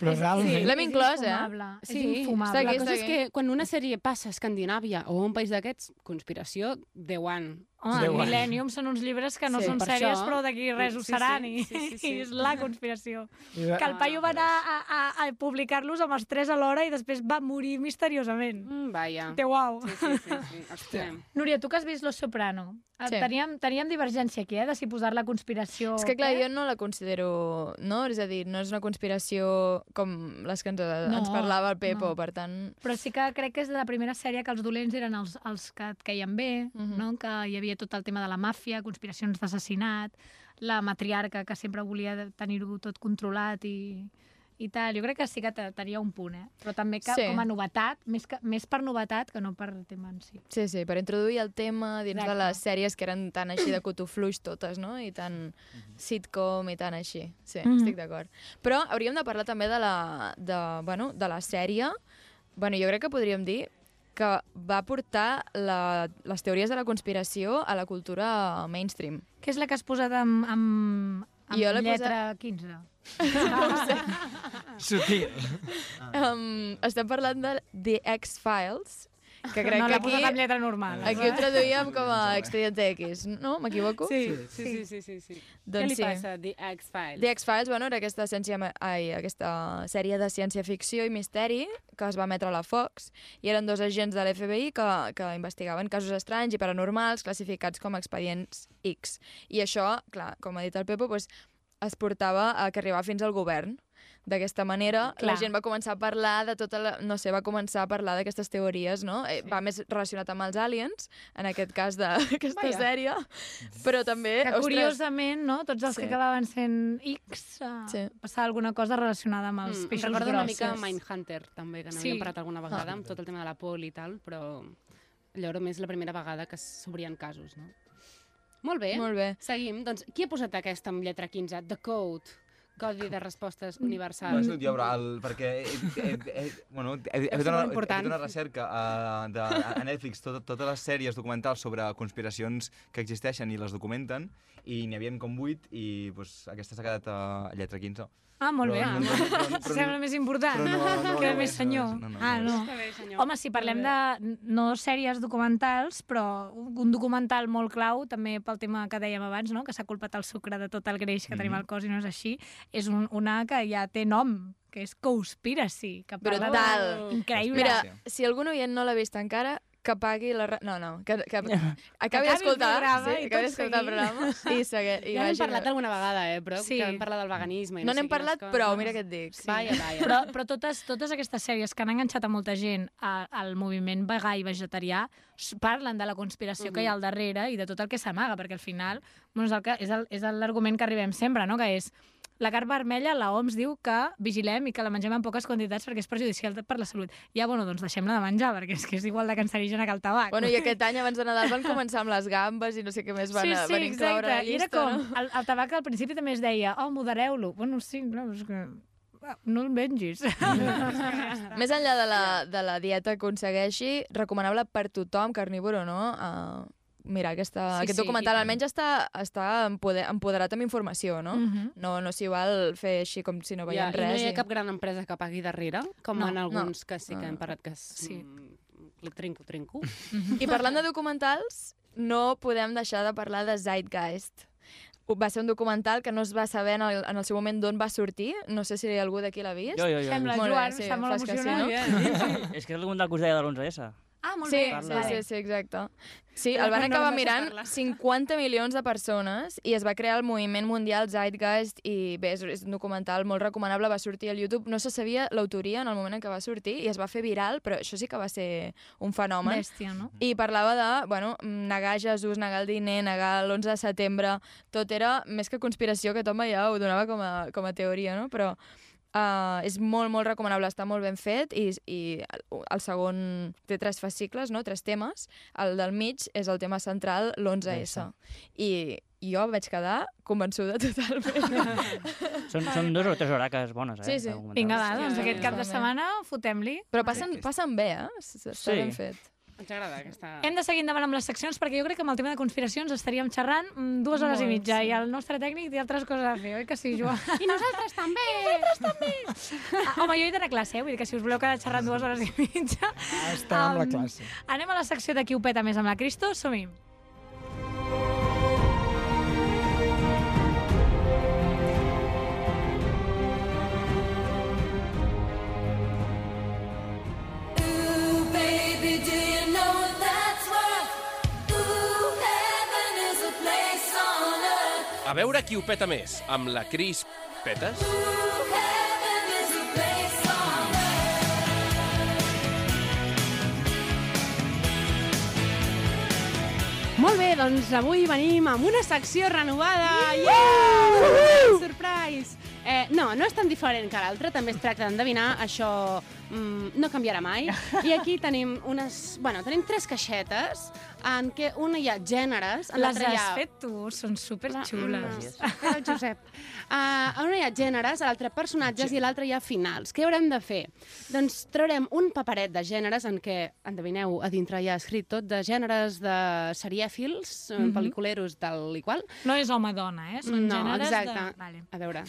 S10: Però realment...
S8: sí, l'hem inclòs, eh?
S7: és infumable.
S9: La
S8: Segueix,
S9: cosa és
S8: segueix.
S9: que quan una sèrie passa a Escandinàvia o a un país d'aquests, conspiració, de one.
S7: Home,
S10: Deu
S7: el
S10: anys.
S7: Millennium són uns llibres que no
S9: Sí,
S7: són
S9: per
S7: sèries,
S9: això.
S7: però d'aquí res ho
S9: Sí, sí,
S7: seran, i,
S9: sí, sí,
S7: i
S9: sí.
S7: és la conspiració.
S10: I va- Ah,
S7: Que el paio va anar a, a, a publicar-los amb els tres alhora i després va morir misteriosament.
S9: Mm, vaja.
S7: Té uau.
S9: Sí, sí, sí, sí. extrem.
S7: Núria, tu que has vist Los Soprano,
S8: Sí.
S7: sí. teníem, teníem divergència aquí, eh, de si posar la conspiració...
S8: És que, clar,
S7: eh?
S8: jo no la considero... No? És a dir, no és una conspiració com les que ens, ens
S7: No,
S8: parlava el Pepo,
S7: no.
S8: per tant...
S7: Però sí que crec que és de la primera sèrie que els dolents eren els, els que et caien bé, no? que hi havia tot el tema de la màfia, conspiracions d'assassinat, la matriarca que sempre volia de- tenir-ho tot controlat i, i tal. Jo crec que sí que te- tenia un punt, eh? però també que,
S8: Sí.
S7: sí. com a novetat, més, que, més per novetat que no per tema en si.
S8: Sí, sí, per introduir el tema dins Exacte. de
S7: Exacte.
S8: les sèries que eren tan així de cotofluix totes, no? I tan sitcom i tan així. Sí,
S7: Mhm.
S8: estic d'acord. Però hauríem de parlar també de la, de, bueno, de la sèrie. Bueno, jo crec que podríem dir que va portar la, les teories de la conspiració a la cultura mainstream.
S7: Què és la que has posat amb, amb, amb
S8: Jo l'he
S7: lletra 15?
S10: Sutil.
S8: Um, estem parlant de The X-Files, que crec
S7: no
S8: que
S7: l'ha
S8: aquí...
S7: posat amb lletra normal.
S8: Aquí ho traduïem com a Expediente X, no? M'equivoco?
S9: Sí, sí, sí, sí, sí. sí.
S8: Doncs
S9: Què li
S8: sí.
S9: passa? The X-Files.
S8: The X-Files, bueno, era aquesta, ciència, ma- ai, aquesta sèrie de ciència-ficció i misteri que es va emetre a la Fox i eren dos agents de l'FBI que, que investigaven casos estranys i paranormals classificats com a expedients X. I això, clar, com ha dit el Pepo, doncs, es portava a que arribava fins al govern. D'aquesta manera, clar. la
S7: Clar.
S8: gent va començar a parlar de tota la... No sé, va començar a parlar d'aquestes teories, no? Sí. Va més relacionat amb els aliens, en aquest cas d'aquesta
S7: Vaja.
S8: sèrie, però
S9: Eh,
S8: també...
S7: Que
S8: ostres,
S7: curiosament, no? Tots els
S8: Sí.
S7: sí. que acabaven sent X, sí. passava alguna cosa relacionada amb els
S9: Mm, em
S7: peixos
S9: recorda una
S7: grossos.
S9: mica Mindhunter, també, que n'havíem
S7: Sí.
S9: parlat alguna
S7: Ah.
S9: vegada, amb tot el tema de la pol i tal, però allò era més la primera vegada que s'obrien casos, no? Molt bé.
S8: Molt bé.
S9: Seguim. Doncs qui ha posat aquesta amb lletra 15? The Code. Codi de respostes universal.
S10: Mm.
S2: No, és tot jo, però el, perquè he, he, he, bueno, he, he, fet una, he
S9: superimportant.
S2: fet una recerca uh, de, a Netflix, tot, totes les sèries documentals sobre conspiracions que existeixen i les documenten, i n'hi havia com 8, i pues, aquesta s'ha quedat a lletra 15.
S7: Ah, molt bé.
S2: Però no- no- no- però
S7: Sembla
S2: no-
S7: més important
S2: però no- no-
S7: que
S2: no
S7: el més
S2: és, no
S7: senyor.
S2: és, no, no,
S7: ah,
S2: no
S7: no.
S9: Està bé, senyor.
S7: Home, si parlem de no sèries documentals, però un documental molt clau, també pel tema que dèiem abans, no? que s'ha culpat el sucre de tot el greix que tenim
S8: Mhm.
S7: al cos i no és així, és un, una que ja té nom, que és Conspiracy, que parla de-
S8: Brutal.
S7: Increïble.
S8: Mira, si algun oient no l'ha vist encara, que pagui la... ra- No, no, que, que acabi
S7: el
S8: d'escoltar.
S7: programa i
S8: Sí, acabi d'escoltar el
S7: tot seguit.
S8: programa i, segue, i
S9: Ja n'hem
S8: vagi a
S9: parlat
S8: veure.
S9: alguna vegada, eh, però
S7: Sí.
S9: que vam parlar del veganisme. i
S8: No
S9: sé
S8: n'hem
S9: quines
S8: parlat
S9: coses.
S8: prou, mira què et dic. Sí.
S9: Vaja, vaja.
S7: Però, però totes, totes aquestes sèries que han enganxat a molta gent a- al moviment vegà i vegetarià s- parlen de la conspiració que hi
S8: Mhm.
S7: ha al darrere i de tot el que s'amaga, perquè al final bueno, és el que- és el- és el- l'argument que arribem sempre, no? que és la carn vermella, la OMS diu que vigilem i que la mengem en poques quantitats perquè és perjudicial per la salut. Ja, bueno, doncs deixem-la de menjar, perquè és que és igual de cancerígena que el tabac.
S8: Bueno, i aquest any abans de Nadal van començar amb les gambes i no sé què més van,
S7: sí,
S8: a-
S7: sí,
S8: van incloure
S7: exacte.
S8: a la llista.
S7: I era com,
S8: No?
S7: el, el tabac al principi també es deia, oh, modereu-lo. Bueno, sí, no, és que ah, no el mengis.
S8: Més enllà de la, de la dieta que aconsegueixi, recomanable per tothom, carnívor o no, uh, mirar aquesta,
S7: Sí,
S8: aquest
S7: sí,
S8: documental.
S7: i tant.
S8: Almenys està, està empoder, empoderat amb informació, no?
S7: Mhm.
S8: no, no s'hi val fer així com si no
S9: Ja,
S8: veiem
S9: I no
S8: res.
S9: hi ha
S8: Mm. i-
S9: cap gran empresa que pagui darrere, com
S8: No,
S9: en
S8: no.
S9: alguns que sí que
S8: No,
S9: hem
S8: no.
S9: parlat que sí. trinco, trinco.
S8: I parlant de documentals, no podem deixar de parlar de Zeitgeist. Va ser un documental que no es va saber en el, en el seu moment d'on va sortir. No sé si algú d'aquí l'ha vist.
S12: Jo, jo, jo. Sembla
S8: Molt bé,
S12: Joan,
S8: sí,
S12: està molt
S8: fas que sí,
S12: emocionat.
S8: no?
S12: És que és el documental que us deia de l'11S.
S7: Ah, molt
S8: sí,
S7: bé.
S8: Sí,
S7: Vale.
S8: sí, sí, exacte. Sí,
S7: Era
S8: el van
S7: quan no
S8: acabar
S7: em deixes
S8: mirant 50 milions de persones i es va crear el moviment mundial Zeitgeist i bé, és, és un documental molt recomanable, va sortir al YouTube, no se sabia l'autoria en el moment en què va sortir i es va fer viral, però això sí que va ser un fenomen.
S7: Bèstia, no?
S8: I parlava de, bueno, negar Jesús, negar el diner, negar l'11 de setembre, tot era més que conspiració, que Tom ja ho donava com a, com a teoria, no? Però Uh, és molt, molt recomanable, està molt ben fet i, i el, el segon té tres fascicles, no? tres temes. El del mig és el tema central, l'11S. I jo vaig quedar convençuda totalment.
S12: Són, són dos o tres horaques bones, eh?
S8: Sí, sí.
S12: de documental.
S7: Vinga, va,
S8: Sí,
S7: doncs
S8: sí,
S7: aquest
S8: sí,
S7: cap de
S8: totalment.
S7: setmana fotem-li.
S8: Però passen, passen bé, eh? S- s- Està
S12: Sí.
S8: ben fet.
S9: Ens agrada aquesta...
S7: Hem de seguir endavant amb les seccions perquè jo crec que amb el tema de conspiracions estaríem xerrant mm, dues hores i
S8: Molt,
S7: mitja
S8: sí.
S7: i el nostre tècnic té altres coses a fer, oi que sí, Joan?
S9: I nosaltres també!
S7: Ah, Home, jo he d'anar a classe, eh? vull dir que si us voleu quedar xerrant dues hores i mitja...
S10: Estem Ah, amb la
S7: Em,
S10: classe.
S7: Anem a la secció de qui ho peta més amb la Cristo, som-hi.
S11: veure qui ho peta més, amb la Cris Petes
S9: Molt bé, doncs avui venim amb una secció renovada. Yeah! Surprise! Eh, no, no és tan diferent que l'altra, també es tracta d'endevinar, això mm, no canviarà mai. I aquí tenim unes... Bueno, tenim tres caixetes, en què una hi ha gèneres, en
S7: Les
S9: l'altra hi
S7: has
S9: ha...
S7: fet tu, són superxules.
S9: Era el Josep. Uh, en una hi ha gèneres, a l'altra personatges i a l'altra hi ha finals. Què haurem de fer? Doncs traurem un paperet de gèneres en què, endevineu, a dintre hi ha escrit tot de gèneres de serièfils, mm
S7: Mhm.
S9: -hmm. pel·liculeros, tal i qual.
S7: No és home-dona, eh? Són
S9: no,
S7: gèneres
S9: exacte.
S7: de... Vale.
S9: A veure,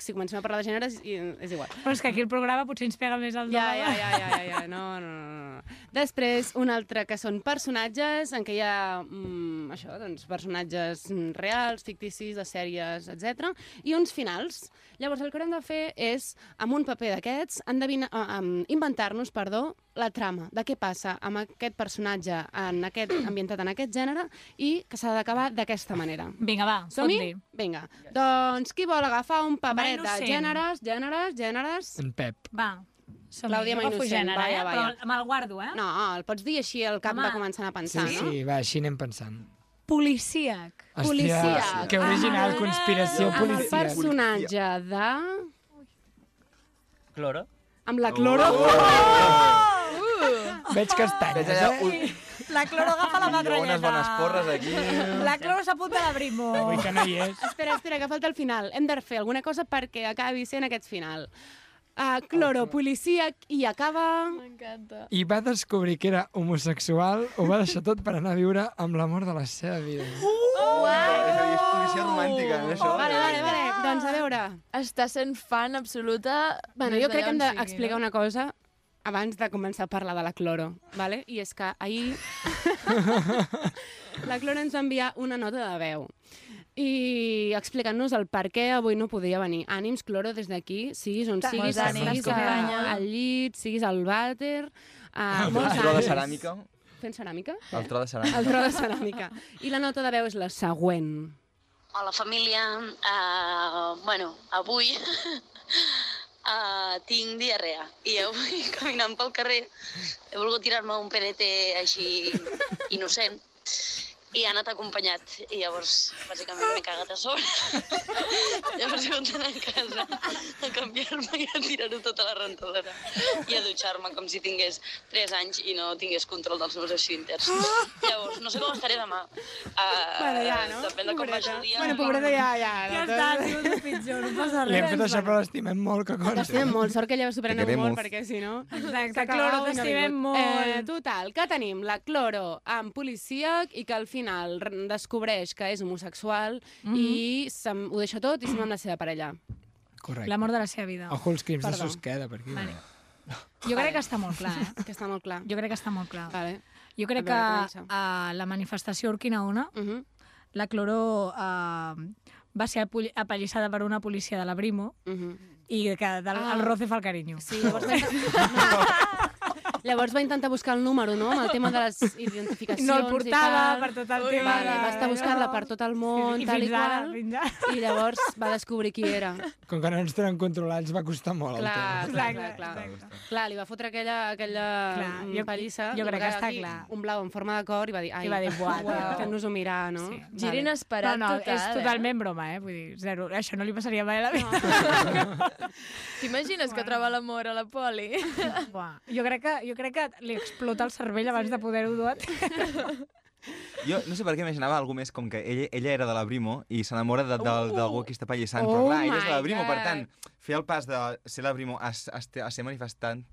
S9: si comencem a parlar de gèneres, i- és igual.
S7: Però és que aquí el programa potser ens pega més al
S9: Ja,
S7: davant.
S9: ja, ja, ja, ja, ja. No, no, no, no. Després, un altre que són personatges, en què hi ha mm, això, doncs, personatges mm, reals, ficticis, de sèries, etc. I uns finals. Llavors, el que haurem de fer és, amb un paper d'aquests, endevina- ah, em, inventar-nos, perdó, la trama, de què passa amb aquest personatge en aquest, ambientat en aquest gènere i que s'ha d'acabar d'aquesta manera.
S7: Vinga, va,
S9: Som-hi?
S7: fot-li.
S9: Vinga. Doncs qui vol agafar un paperet de
S7: innocent.
S9: gèneres, gèneres, gèneres?
S10: En Pep.
S7: Va, som-hi.
S9: Clàudia
S7: Jo
S9: Mainucent,
S7: agafo gènere,
S9: vaja,
S7: eh?
S9: vaja.
S7: Però me'l guardo, eh?
S9: No, el pots dir així al cap
S7: Home.
S9: de començant a
S10: Sí,
S9: pensar, Ah, no?
S10: sí, va, així anem pensant.
S7: Policíac.
S10: Hòstia, que original, conspiració
S9: Amb el
S10: policial.
S9: personatge de...
S12: Cloro.
S9: Amb
S2: Oh!
S9: la cloro.
S10: Veig castanyes,
S13: Veig allà
S10: eh?
S13: un-
S7: La Cloro agafa la
S13: Hi ha
S7: matralleta.
S13: unes bones porres aquí.
S7: La Cloro s'apunta a la Brimo.
S10: Vull que no hi és.
S9: Espera, espera, que falta el final. Hem de fer alguna cosa perquè acabi sent aquest final. Uh, cloro, policia, i acaba... M'encanta.
S10: I va descobrir que era homosexual, ho va deixar tot per anar a viure amb l'amor de la seva vida.
S2: És policia romàntica, eh, això.
S9: Vale, vale, vale. Doncs a veure.
S8: Està sent fan absoluta...
S9: Bueno,
S8: des
S9: jo crec que hem
S8: d'allà on sigui,
S9: d'explicar
S8: no?
S9: una cosa abans de començar a parlar de la cloro, vale? i és que ahir la cloro ens va enviar una nota de veu i explicant-nos el per què avui no podia venir. Ànims, cloro, des d'aquí, siguis on
S8: Molts
S9: siguis,
S8: ànims,
S9: siguis a,
S8: companya.
S9: al llit, siguis al vàter... Uh,
S2: El tro de ceràmica.
S9: Fent ceràmica?
S2: El tro de ceràmica.
S9: El tro de ceràmica. I la nota de veu és la següent.
S14: Hola, família. Uh, bueno, avui uh, tinc diarrea i avui, caminant pel carrer, he volgut tirar-me un PDT així innocent i ha anat acompanyat. I llavors, bàsicament, m'he cagat a sobre. llavors he hagut d'anar a casa a canviar-me i a tirar-ho tota la rentadora i a dutxar-me com si tingués 3 anys i no tingués control dels meus així interns. Llavors, no sé com estaré demà. Uh,
S9: Bueno, ja, no?
S14: Depèn de com vagi el dia.
S9: Bueno, pobreta, ja, ja.
S7: Ja
S9: no,
S7: està,
S9: tot-
S7: ha sigut el pitjor, no passa
S10: Li hem
S7: res.
S10: fet això, però l'estimem molt, que consti.
S9: L'estimem molt, sort que ella va superar
S10: Que ve
S9: molt,
S10: molt.
S9: perquè si no...
S7: Exacte,
S9: s'ha
S7: Cloro,
S9: acabat i no ha
S7: t'estimem
S9: vingut.
S7: molt.
S9: Eh, total, que tenim la Cloro amb policia i que al final r- descobreix que és homosexual
S7: Mhm.
S9: i se'n- ho deixa tot i se'n va amb la seva parella.
S10: Correcte.
S7: L'amor de la seva vida.
S10: Ojo els crims
S7: Perdó.
S10: de Susqueda, per aquí.
S7: Vale. Jo crec que està molt clar, eh?
S9: Que està molt clar.
S7: Jo crec que està molt clar.
S9: Vale.
S7: Jo crec
S9: A
S7: que
S9: veure,
S7: a la manifestació Urquinaona,
S9: uh -huh.
S7: la Cloró eh, va ser apol- apallissada per una policia de la Brimo
S9: uh -huh.
S7: i que del,
S9: Ah.
S7: el roce fa el carinyo.
S9: Sí, llavors, Llavors va intentar buscar el número, no?, amb el tema de les identificacions
S7: No el
S9: i
S7: portava
S9: tal.
S7: per tot el tema
S9: Vale,
S7: de-
S9: va estar buscant-la per tot el món,
S7: I
S9: tal i
S7: fins ara,
S9: qual. I llavors va descobrir qui era.
S10: Com que no ens tenen controlats, va costar molt
S9: Clar,
S10: el tema.
S9: clar, clar, clar. Clar, li va fotre aquella, aquella
S7: Clar,
S9: mm,
S7: jo-
S9: pallissa.
S7: jo
S9: li va
S7: crec que
S9: caure
S7: està
S9: aquí
S7: clar.
S9: Un blau en forma de cor i va dir... Ai,
S7: I va dir, "Buah, tio."
S9: Fent-nos-ho mirar, no? Sí.
S8: Gir inesperat
S7: no, no,
S8: total,
S7: és
S8: eh?
S7: totalment broma, eh? Vull dir, zero. Això no li passaria mai a la vida.
S8: T'imagines que troba l'amor a la poli?
S7: Buah. Jo, crec que, jo crec que li explota el cervell abans de poder-ho dur a terme.
S2: Jo no sé per què imaginava algú més com que ella, ella era de la Brimo i s'enamora de- de- d'algú que està pallissant, però
S9: Oh
S2: clar, ella és de la
S9: my
S2: Brimo, per
S9: God.
S2: tant, fer el pas de ser la Brimo a, s- a, este- a ser manifestant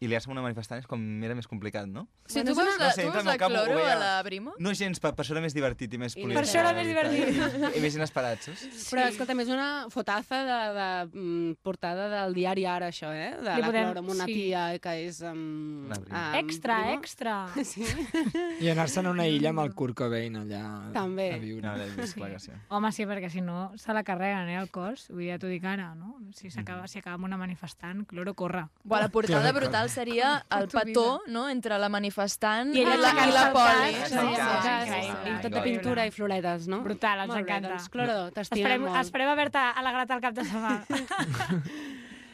S2: i liar-se amb una manifestant és com era més complicat, no?
S8: Si tu veus la,
S2: No
S8: tu
S2: sé,
S8: veus
S2: entra en el
S8: la
S2: cap, ho
S8: cloro
S2: veia-
S8: a la Brimo?
S2: No gens, per, per això era més divertit i més polític.
S7: això era més
S2: I, i més inesperat, saps?
S9: Sí. Però, escolta, és una fotaza de, de mm, portada del diari Ara, això, eh? De
S7: Li
S9: la
S7: podem-
S9: Cloro, amb una
S7: sí.
S9: tia que és... Um, um,
S7: Extra, extra.
S9: Sí.
S10: eh? I anar-se'n a una illa amb el Kurt Cobain allà
S7: També.
S10: a viure.
S2: No, és clar que sí.
S7: Home, sí, perquè si no se la carreguen, eh, el
S9: Mm.
S7: cos. Vull dir, ja t'ho dic ara, no? Si s'acaba si acaba amb una manifestant, cloro corre.
S8: Buah, la portada
S7: Cloro,
S8: brutal
S1: seria el petó no? entre la manifestant
S9: I
S1: i
S9: ella
S1: la,
S8: Ah,
S1: i la
S9: aixecant-se al
S1: poli.
S9: braç,
S1: Sí,
S9: no?
S1: sí,
S9: Sí,
S1: sí.
S9: increïble. I tot de pintura i floretes, no?
S8: tota Brutal, ens
S9: Molt bé,
S8: encanta.
S9: doncs, Cloro, t'estimem
S8: Esperem-
S9: molt.
S8: Esperem haver-te alegrat el cap de setmana.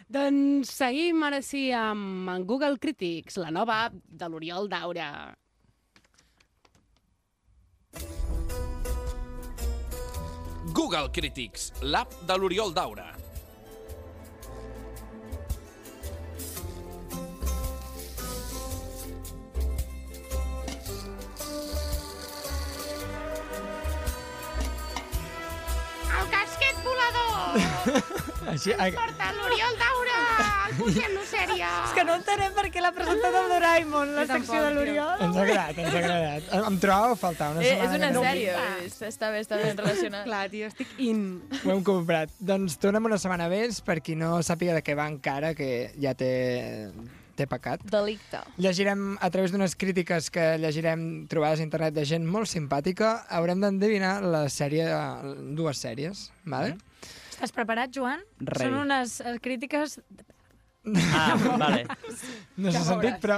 S9: Doncs seguim ara sí amb en Google Critics, la nova app de l'Oriol Daura.
S10: Google Critics, l'app de l'Oriol Daura.
S15: El casquet volador!
S7: Així, a,
S15: Porta l'Oriol Daura! El Consell Lucèria!
S8: És que no entenem per què l'ha presentat el Doraemon, la secció de l'Oriol.
S7: ens ha agradat, ens ha agradat. Em- Em trobava a faltar una
S1: Eh,
S7: setmana.
S1: és una
S7: que no ho
S1: sèrie, és- està bé, està ben relacionat.
S8: Clar, tio, estic in.
S7: Ho hem comprat. Doncs tornem una setmana més, per qui no sàpiga de què va encara, que ja té, té pecat.
S1: Delicte.
S7: Llegirem, a través d'unes crítiques que llegirem trobades a internet de gent molt simpàtica, haurem d'endevinar la sèrie, eh, dues sèries, vale?
S8: Mm-hmm. Estàs preparat, Joan?
S7: Rei.
S8: Són unes eh, crítiques...
S7: Ah,
S16: vale.
S7: No s'ha
S8: Ja
S7: sentit,
S8: veuràs.
S7: però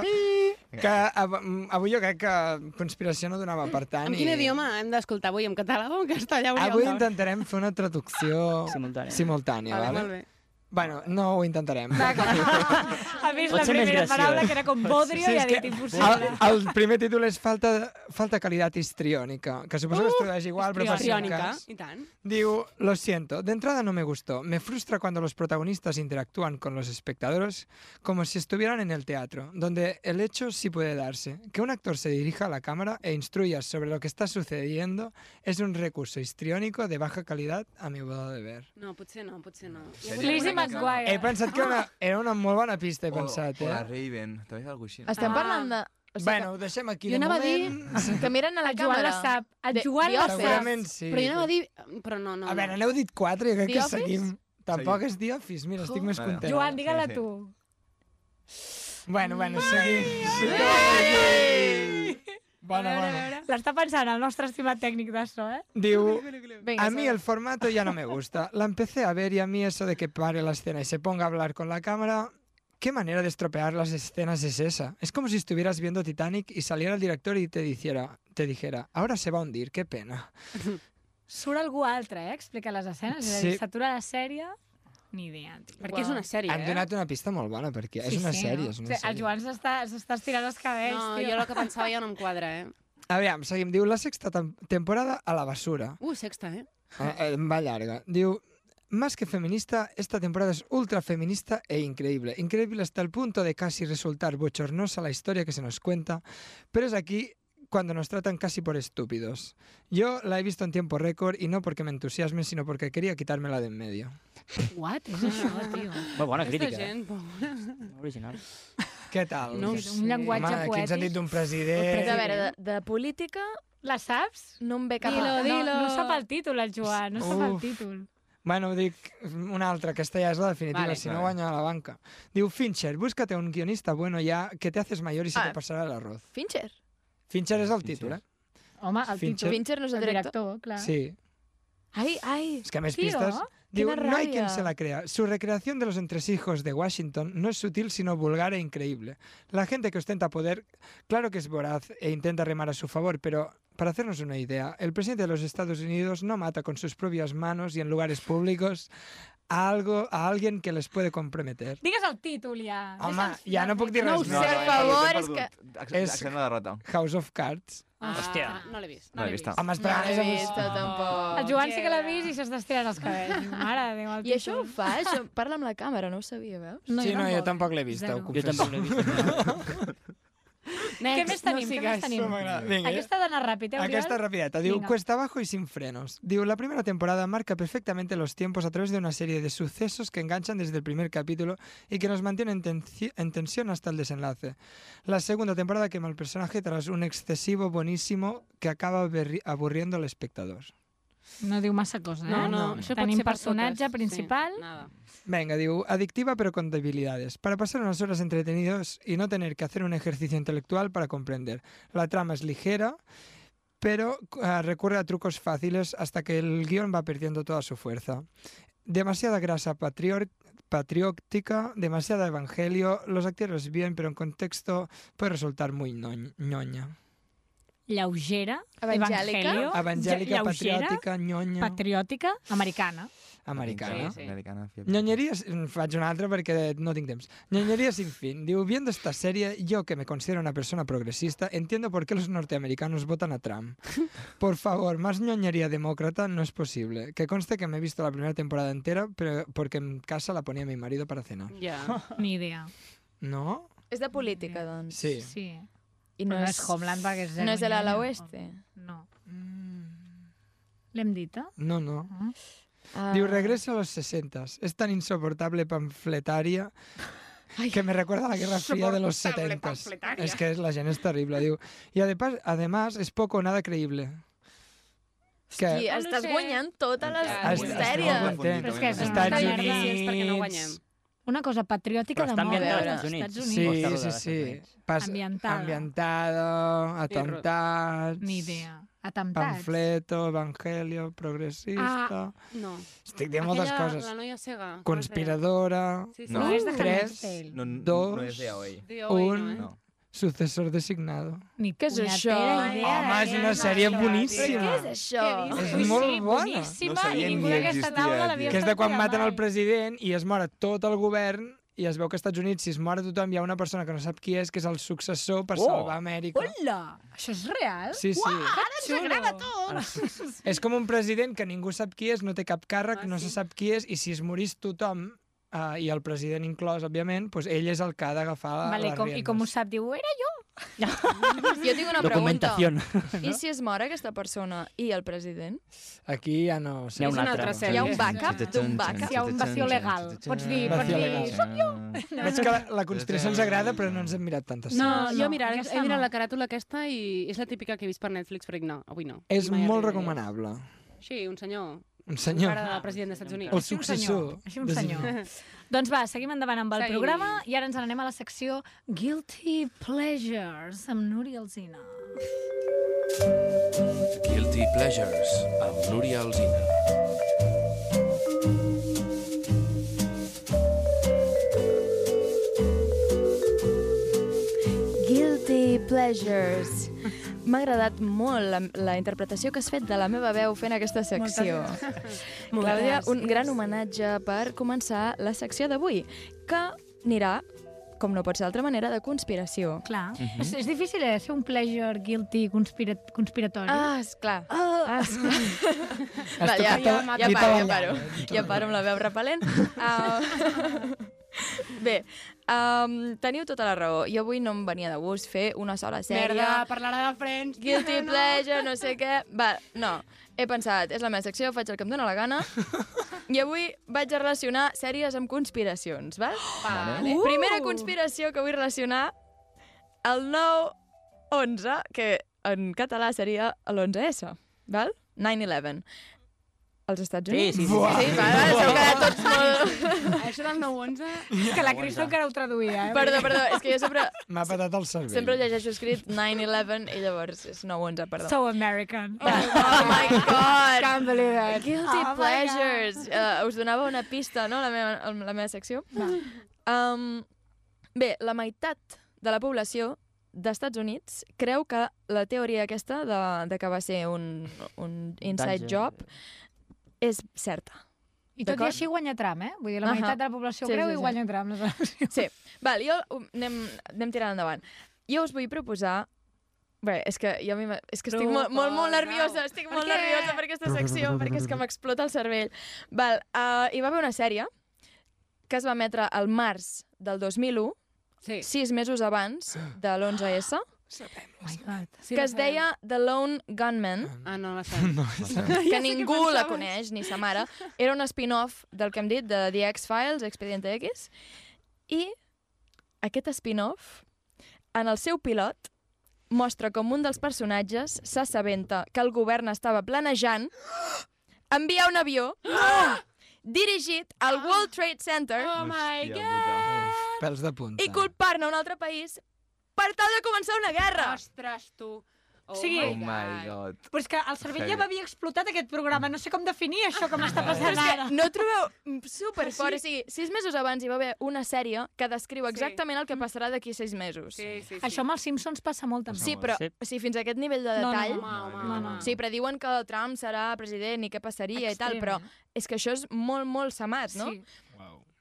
S7: que av- mm, avui jo crec que conspiració no donava per tant.
S9: En quin idioma hem d'escoltar avui? En català o en castellà? Oriol
S7: Avui
S9: Daura?
S7: intentarem fer una traducció simultània, simultània
S9: Vale,
S7: vale?
S9: molt bé.
S7: Bueno, no ho intentarem.
S8: Ha vist la
S7: Potser més
S8: primera
S7: graciós.
S8: paraula que era com bodrio
S7: Sí,
S8: i
S7: és
S8: ha
S7: que
S8: dit
S7: El,
S8: impossible.
S7: el primer títol és falta, falta calidad histriónica, que suposo que es tradueix igual, però per si un
S9: Histriónica,
S7: cas.
S9: i tant.
S7: Diu, lo siento, de entrada no me gustó. Me frustra cuando los protagonistas interactúan con los espectadores como si estuvieran en el teatro, donde el hecho sí puede darse. Que un actor se dirija a la cámara e instruya sobre lo que está sucediendo es un recurso histriónico de baja calidad a mi modo de ver.
S9: No, potser no, potser no.
S8: Lizzie McGuire.
S7: He pensat que una, era una molt bona pista, he pensat,
S2: O
S7: eh?
S2: la Raven, també és alguna cosa així.
S1: Estem
S8: Ah.
S1: parlant de...
S7: Bueno, ho deixem aquí
S9: Jo
S7: de
S9: anava a dir-
S7: moment.
S1: Que miren a la
S8: El Joan
S1: càmera.
S8: la sap. El
S1: De-
S8: Joan
S1: The
S8: la
S1: Office.
S7: Segurament sí.
S9: Però jo anava a dir... Però no, no.
S7: A veure, n'heu dit quatre, jo crec
S9: The
S7: que
S9: Office?
S7: seguim. Tampoc és The Office, mira, estic més
S2: Vale.
S7: content.
S8: Joan, digue-la tu.
S7: Bueno, bueno, seguim. Sí. Bona, bona.
S8: L'està pensant el nostre estimat tècnic de so, eh?
S7: Diu,
S8: Venga,
S7: a mí el formato ya no me gusta. La empecé a ver y a mí eso de que pare la escena y se ponga a hablar con la cámara... ¿Qué manera de estropear las escenas es esa? Es como si estuvieras viendo Titanic y saliera el director y te, dijera, te dijera, ahora se va a hundir, qué pena.
S8: Surt algú altre, eh? Explica les escenes. Sí. És a
S7: Sí.
S8: dir, s'atura la sèrie... Ni idea. tio.
S9: Perquè és una sèrie, eh?
S7: Han donat una pista molt bona, perquè és una sèrie. És
S8: O
S7: una
S8: sigui, El
S7: sèrie.
S8: Joan s'està s'està estirant els cabells,
S9: No,
S8: tio.
S9: jo el que pensava ja no em quadra, eh?
S7: Aviam, seguim. Diu, la sexta tem- temporada a la basura.
S9: Uh, sexta, eh?
S7: Eh, eh, va larga. Diu, más que feminista, esta temporada es ultra feminista e increíble. Increíble hasta el punto de casi resultar bochornosa la historia que se nos cuenta, pero es aquí cuando nos tratan casi por estúpidos. Yo la he visto en tiempo récord y no porque me entusiasme, sino porque quería quitármela de en medio.
S9: What? És això, tio.
S16: Molt bona
S9: Aquesta
S16: crítica, eh?
S9: gent, pobra.
S16: Original.
S7: Què tal?
S9: No ho sé. Un llenguatge
S7: Home, aquí ens han
S9: poètic.
S7: dit d'un
S1: Però, Eh, a
S7: president...
S1: veure, de, de política...
S8: La saps?
S1: No em ve cap...
S9: Ah,
S8: Dilo,
S1: a-
S8: dilo. No sap el títol, el Joan, no sap el
S7: Uf.
S8: títol.
S7: Bueno, dic una altra, aquesta ja és la definitiva,
S8: Vale.
S7: si no
S8: Vale.
S7: guanya la banca. Diu, Fincher, búscate un guionista bueno ya que te haces mayor y se
S8: Ah.
S7: te pasará el arroz.
S1: Fincher.
S7: Fincher és el títol, eh?
S8: Home, el
S7: Fincher.
S8: títol.
S1: Fincher no és el
S8: director, clar.
S7: Sí.
S1: Ai, ai.
S7: Es que a més pistes...
S8: oh,
S7: Diu, no hay quien se la crea. Su recreación de los entresijos de Washington no es sutil, sino vulgar e increíble. La gente que ostenta poder, claro que es voraz e intenta remar a su favor, pero para hacernos una idea, el presidente de los Estados Unidos no mata con sus propias manos y en lugares públicos a, algo, a alguien que les puede comprometer.
S8: Digues el títol, ja.
S7: Home, ja no puc dir
S8: No
S7: res
S8: ho sé,
S7: més.
S8: per favor, és que...
S2: Accent accent de derrota.
S7: House of Cards.
S8: Ah, Hòstia. no l'he vist, no
S2: No l'he vist.
S7: Home, espera,
S1: No
S7: és
S1: l'he
S7: amb-
S1: vist, tampoc.
S8: El Joan sí que l'ha vist i s'està estirant els cabells. Mare de Déu, el
S1: I això ho fa? Això parla amb la càmera, no ho sabia, veus?
S7: sí, no, jo tampoc l'he vist,
S16: Zero.
S7: ho
S16: Jo
S7: confesso.
S16: tampoc l'he
S8: Què més tenim? Què més tenim?
S7: Vinga.
S8: Aquesta ha d'anar ràpid, eh, Oriol?
S7: Aquesta rapideta. Diu,
S8: Vinga.
S7: cuesta abajo y sin frenos. Diu, la primera temporada marca perfectamente los tiempos a través de una serie de sucesos que enganchan desde el primer capítulo y que nos mantienen tenci- en tensión hasta el desenlace. La segunda temporada quema el personaje tras un excesivo buenísimo que acaba aberri- aburriendo al espectador.
S8: No diu massa cosa, eh?
S9: No, no, això pot
S8: Tenim
S9: ser per
S8: personatge
S9: totes,
S8: principal.
S9: sí, nada.
S7: Venga, digo, adictiva pero con debilidades. Para pasar unas horas entretenidos y no tener que hacer un ejercicio intelectual para comprender. La trama es ligera, pero
S10: ah,
S7: eh, recurre a trucos fáciles hasta que el guión va perdiendo toda su fuerza. Demasiada grasa patrior-
S10: patriótica, demasiado evangelio, los actores bien, pero en contexto puede resultar muy noñ- ñoña.
S7: Lleugera,
S8: Evangèlica?
S7: evangelio,
S10: Evangèlica,
S7: lle- lleugera,
S10: patriòtica, nyonya.
S7: Patriòtica, americana.
S10: Americana.
S7: Sí, sí.
S2: Americana, fiable.
S10: Ñonyeries, mm, faig una altra perquè no tinc temps. Ñonyeries sin fin. Diu, viendo esta serie, yo que me considero una persona progresista, entiendo por qué los norteamericanos votan a Trump. Por favor, más ñoñería demócrata no es posible. Que conste que me he visto la primera temporada entera pero porque en casa la ponía mi marido para cenar.
S7: Ni idea.
S10: ¿No?
S8: És de política, doncs.
S10: Sí.
S7: Sí.
S8: I no,
S7: Mm. Però no és Homeland, perquè és
S8: No és de la
S7: zero
S8: la
S7: nyonya.
S8: oeste.
S7: No. L'hem dita?
S10: Mm. No, no.
S7: Ah.
S10: Diu, regreso a los 60. Es tan insoportable panfletaria que me recuerda a la Guerra Fría de los
S13: Soportable
S10: 70.
S13: panfletaria.
S10: Es que es, la gent és terrible, diu. I adepas, además es poco o nada creíble. Que
S8: I
S7: Ah,
S9: No
S8: estàs
S9: sé.
S8: guanyant totes les
S10: Està- està molt
S8: sèries.
S10: content.
S7: Però és que és una
S10: Estats
S7: merda.
S10: Units.
S7: Una cosa patriòtica de moda dels Estats Units.
S10: Sí, sí, sí. Pas,
S7: Ambientada.
S10: ambientada, atemptats,
S7: Ni idea. Atemptats.
S10: panfleto, evangelio, progressista...
S9: Ah, no.
S10: Estic dient moltes
S9: Aquella-
S10: coses.
S9: La noia cega. com es deia?
S10: Conspiradora.
S9: Sí, sí. No. No es de Handmaid's
S10: 3,
S9: Tale.
S2: No, no,
S10: dos,
S2: no es de hoy.
S9: De hoy,
S10: un,
S9: no, eh?
S10: sucesor designado.
S7: Ni què
S8: és això?
S7: Idea,
S10: Home, és
S7: eh?
S10: una sèrie boníssima.
S8: Però què és això?
S10: Què dius? És molt
S7: sí,
S10: bona.
S7: Boníssima,
S10: No sabia
S7: i ningú
S10: ni
S7: d'aquesta
S10: existia,
S7: taula l'havia
S10: Que és de quan
S7: sentit
S10: maten
S7: mai.
S10: el president i es mora tot el govern i es veu que als Estats Units, si es mora tothom, hi ha una persona que no sap qui és, que és el successor per
S7: Oh.
S10: salvar Amèrica.
S7: Hola! Això és real?
S10: Sí, sí. Uah,
S7: ara ens agrada
S10: Ah,
S7: tot!
S10: És com un president que ningú sap qui és, no té cap
S7: Ah,
S10: càrrec, no se sap qui és, i si es morís tothom, eh, i el president inclòs, òbviament, doncs ell és el que ha d'agafar
S7: Vale,
S10: les
S7: com, I
S10: riendes.
S7: com ho sap? Diu, era jo.
S8: Jo tinc una pregunta.
S10: Documentación,
S8: I si es mora aquesta persona i el president?
S10: Aquí ja no...
S8: Hi ha una altra sèrie. Hi ha un backup d'un backup.
S7: Hi ha un vacío legal. Pots dir, pots
S10: Vacío
S7: dir,
S10: legal.
S7: soc jo.
S9: No,
S10: Veig
S9: no.
S10: que la, la conspiració ens agrada, però no ens hem mirat tantes
S9: No,
S10: sèries.
S9: jo mira,
S7: aquesta
S9: he mirat
S7: no.
S9: la caràtula aquesta i és la típica que he vist per Netflix, però dic, no, avui no.
S10: És
S9: Mai
S10: molt
S9: arribaré.
S10: recomanable.
S9: Sí, un senyor.
S10: Un senyor.
S9: Ara de president dels Estats Units.
S10: El successor.
S7: Així un senyor. doncs va, seguim endavant amb el
S9: Seguim.
S7: programa i ara ens n'anem a la secció Guilty Pleasures amb Núria Alzina.
S11: Guilty Pleasures, amb Núria Alzina.
S8: Guilty Pleasures. M'ha agradat molt la, la interpretació que has fet de la meva veu fent aquesta secció.
S17: Moltes
S8: Clàudia,
S17: gràcies.
S8: un gran homenatge per començar la secció d'avui, que anirà, com no pot ser d'altra manera, de conspiració.
S7: Clar.
S8: Mhm.
S7: és, és difícil eh, ser un pleasure guilty conspira conspiratori.
S8: Ah, esclar.
S7: Ah,
S8: esclar.
S7: Has
S8: Vale, ja,
S7: tocat
S8: ja,
S7: la
S8: ja
S7: tripa
S8: paro, ja
S7: del
S8: paro. Ja paro amb la veu repel·lent. Uh, bé, um, teniu tota la raó. Jo avui no em venia de gust fer una sola sèrie.
S9: Merda, parlarà de Friends.
S8: Guilty
S9: No.
S8: pleasure, no sé què... Va, no. He pensat, és la meva secció, faig el que em dóna la gana. I avui vaig a relacionar sèries amb conspiracions, val?
S13: Vale.
S8: Uh! Primera conspiració que vull relacionar, el 9-11, que en català seria l'11S, val? 9-11. Als Estats
S12: Sí,
S8: Units?
S12: sí, sí, sí.
S8: sí, va, va, s'heu quedat tots molt...
S9: Això del 9-11...
S7: És que la Cristo encara ho traduïa, eh?
S8: Perdó, perdó, és que jo sempre,
S10: M'ha patat el cervell.
S8: sempre llegeixo escrit 9-11 i llavors és 9-11, perdó.
S7: So American.
S8: Oh my god!
S7: Can't believe it.
S8: Guilty
S7: Oh my
S8: pleasures! Uh, us donava una pista, no?, la meva, amb la meva secció. Um, bé, la meitat de la població d'Estats Units creu que la teoria aquesta de, de que va ser un, un inside
S12: Danger.
S8: job és certa.
S7: I tot i
S8: D'acord?
S7: així guanya Trump, eh? Vull dir, la
S8: Ahà.
S7: meitat de la població
S8: Sí,
S7: creu
S8: sí, Oh
S7: i
S8: sí.
S7: guanya Trump.
S8: Sí. Val, jo um, anem, anem tirant endavant. Jo us vull proposar... Bé, és que jo a mi m'ha- és que estic molt, molt, molt nerviosa, estic
S13: Per
S8: molt
S13: què?
S8: nerviosa per aquesta secció, perquè és que m'explota el cervell. Val, uh, hi va haver una sèrie que es va emetre al març del 2001,
S9: sí.
S8: sis mesos abans de l'11S,
S9: Sí,
S8: que
S9: la
S8: es deia The Lone Gunman,
S9: Ah, no, la sabem. No,
S8: que ningú la coneix, ni sa mare. Era un spin-off del que hem dit, de The X-Files, Expediente X, i aquest spin-off, en el seu pilot, mostra com un dels personatges s'assabenta que el govern estava planejant enviar un avió dirigit al World Trade Center oh my God.
S10: Pèls de punta.
S8: i culpar-ne un altre país per tal de començar una guerra.
S9: Ostres, tu.
S7: O sigui,
S2: Oh my god.
S7: però és que el cervell ja m'havia explotat aquest programa. No sé com definir això que m'està
S8: Però
S7: passant
S8: Ah. és
S7: ara.
S8: que no trobeu superfort.
S7: Ah,
S8: O sigui, sis mesos abans hi va haver una sèrie que descriu exactament el que passarà d'aquí sis mesos. Sí,
S7: Mm. sí. Això amb els Simpsons passa molt, també.
S8: Sí, però o sigui, fins a aquest nivell de
S7: No, no,
S8: detall...
S7: home, home, home.
S8: Sí, però diuen que el Trump serà president i què passaria i tal,
S7: Extrem, eh?
S8: però és que això és molt, molt samat, no?
S7: Sí.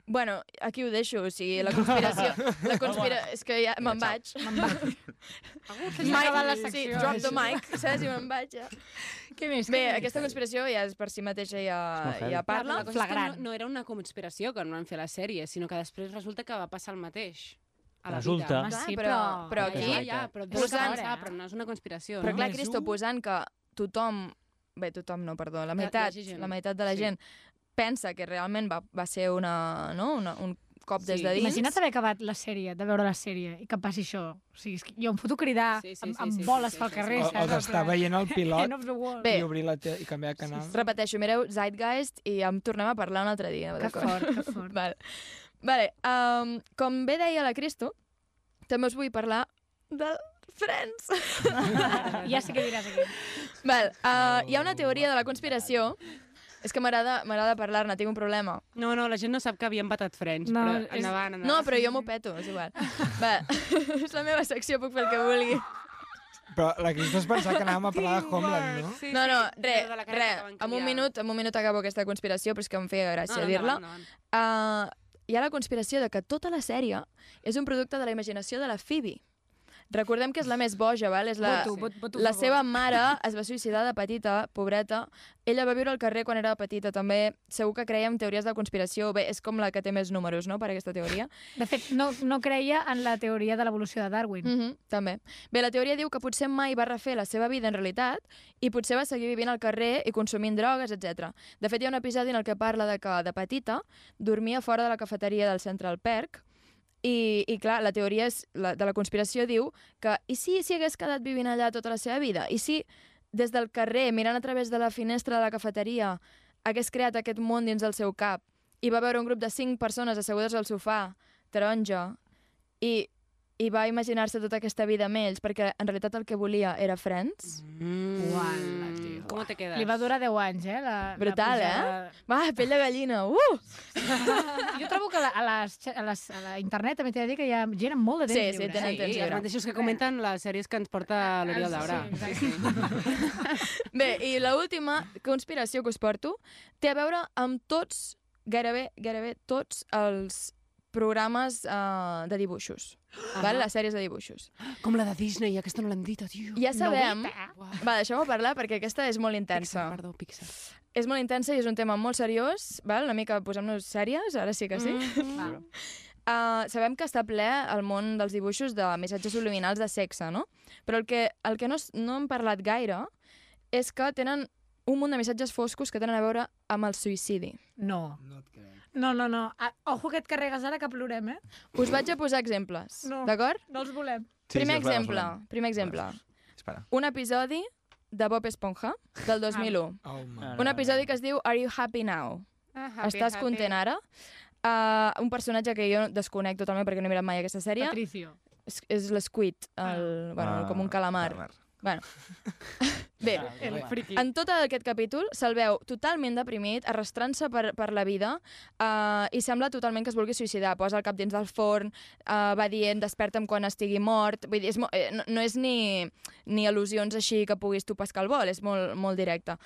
S8: Bueno, aquí ho deixo, o sigui, la conspiració... La conspira... És que ja me'n vaig. Me'n vaig.
S7: que s'ha acabat la
S8: Sí,
S7: secció.
S8: drop the mic, saps? I me'n vaig, ja.
S7: Què més?
S8: Bé, aquesta conspiració ja és per si mateixa ja, ja parla.
S9: La cosa és que No, no era una conspiració quan van fer la sèrie, sinó que després resulta que va passar el mateix. A la
S12: Resulta.
S9: Vida.
S12: Home,
S8: sí, però- però aquí-
S9: Ja, ja, però,
S8: Posant-
S9: posant...
S7: eh?
S9: passar, però no és una conspiració.
S8: Però
S9: no?
S8: clar, Cristo, posant que tothom... Bé, tothom no, perdó, la meitat,
S9: gent.
S8: la meitat de la
S9: Sí.
S8: gent pensa que realment va, va ser una, no? una, un cop des de dins.
S7: Imagina't haver acabat la sèrie, de veure la sèrie, i que passi això. O sigui, és que jo em foto a cridar, sí, sí, sí, amb, amb boles sí, sí, pel carrer,
S10: O, o
S7: saps?
S10: d'estar veient el pilot
S7: End of the world.
S10: i obrir la tele i canviar de canal.
S8: Repeteixo, mireu Zeitgeist i em tornem a parlar un altre dia.
S10: Que
S8: d'acord?
S10: fort,
S7: que fort.
S8: Val. Vale, um, com bé deia la Cristo, també us vull parlar del Friends.
S7: ja sé què diràs aquí.
S8: Val, uh, hi
S10: Oh,
S8: ha una teoria de la conspiració és que m'agrada m'agrada parlar-ne, tinc un problema.
S9: No, no, la gent no sap que havíem patat frens,
S8: No,
S9: no, però
S8: és-
S9: endavant, endavant.
S8: No, però jo m'ho peto, és igual. Va, és la meva secció, puc fer el que vulgui.
S10: Però la Cristo es pensava que anàvem a parlar de Homeland, no?
S8: Sí, no, no, re,
S9: de la
S8: re, en un minut, en un minut acabo aquesta conspiració, però és que em feia gràcia
S9: No, no,
S8: dir-la.
S9: endavant,
S8: Uh, hi ha la conspiració de que tota la sèrie és un producte de la imaginació de la Phoebe. Recordem que és la més boja, val? És la,
S7: Voto, vot- voto a
S8: la
S7: favor.
S8: seva mare es va suïcidar de petita, pobreta. Ella va viure al carrer quan era petita, també. Segur que creia en teories de conspiració. Bé, és com la que té més números, no?, per aquesta teoria.
S7: De fet, no, no creia en la teoria de l'evolució de Darwin.
S8: Mm -hmm, també. Bé, la teoria diu que potser mai va refer la seva vida en realitat i potser va seguir vivint al carrer i consumint drogues, etc. De fet, hi ha un episodi en el que parla de que, de petita, dormia fora de la cafeteria del Central Perk i, i clar, la teoria és, la, de la conspiració diu que i si s'hi hagués quedat vivint allà tota la seva vida? I si des del carrer, mirant a través de la finestra de la cafeteria, hagués creat aquest món dins del seu cap i va veure un grup de cinc persones assegudes al sofà, taronja, i, i va imaginar-se tota aquesta vida amb ells, perquè en realitat el que volia era Friends.
S9: Mm.
S8: Uala, tio.
S9: Com te quedes?
S7: Li va durar 10 anys, eh? La,
S8: Brutal,
S7: la
S8: eh? Va, pell de gallina, uh!
S7: Jo trobo que a, la, a, les, xa- a, les, a la internet també t'he de dir que hi ha gent amb molt de temps
S8: Sí, sí,
S7: lliure. eh?
S8: tenen temps
S9: els
S8: lliure.
S9: mateixos que comenten les sèries que ens porta l'Oriol Daura. Sí, sí.
S8: Bé, i la última conspiració que us porto té a veure amb tots, gairebé, gairebé tots els programes eh, de dibuixos.
S7: Ah.
S8: Val? Les sèries de dibuixos.
S9: Com la de Disney, aquesta no l'hem dit, tio.
S8: Ja sabem...
S9: Novita.
S8: Va, deixeu-me parlar perquè aquesta és molt intensa. Pixar,
S9: perdó, Pixar.
S8: És molt intensa i és un tema molt seriós, val? una mica posem-nos sèries, ara sí que sí.
S9: Mhm.
S8: Mm Uh, sabem que està ple el món dels dibuixos de missatges subliminals de sexe, no? Però el que, el que no, s- no hem parlat gaire és que tenen un munt de missatges foscos que tenen a veure amb el suïcidi.
S7: No. No, no, no. Ah, ojo que et carregues ara que plorem, eh?
S8: Us vaig a posar exemples,
S7: No.
S8: d'acord?
S7: No els volem.
S8: Sí, primer,
S2: sí, els volem, els
S8: exemple,
S2: volem.
S8: primer exemple,
S2: Espera.
S8: un episodi de Bob Esponja del 2001.
S10: Ah,
S2: Oh,
S8: Un episodi que es diu Are You Happy Now?
S9: Ah,
S8: Estàs content ara? Uh, un personatge que jo desconec totalment perquè no he mirat mai aquesta sèrie.
S7: Patricio.
S8: És, és l'Squid, el, bueno,
S2: Ah,
S8: com un calamar. Bueno. Bé,
S7: El friki.
S8: en tot aquest capítol se'l veu totalment deprimit, arrastrant-se per, per la vida uh, i sembla totalment que es vulgui suïcidar. Posa el cap dins del forn, uh, va dient desperta'm quan estigui mort. Vull dir, és mo eh, no, no és ni, ni al·lusions així que puguis tu pescar el vol, és molt, molt directe.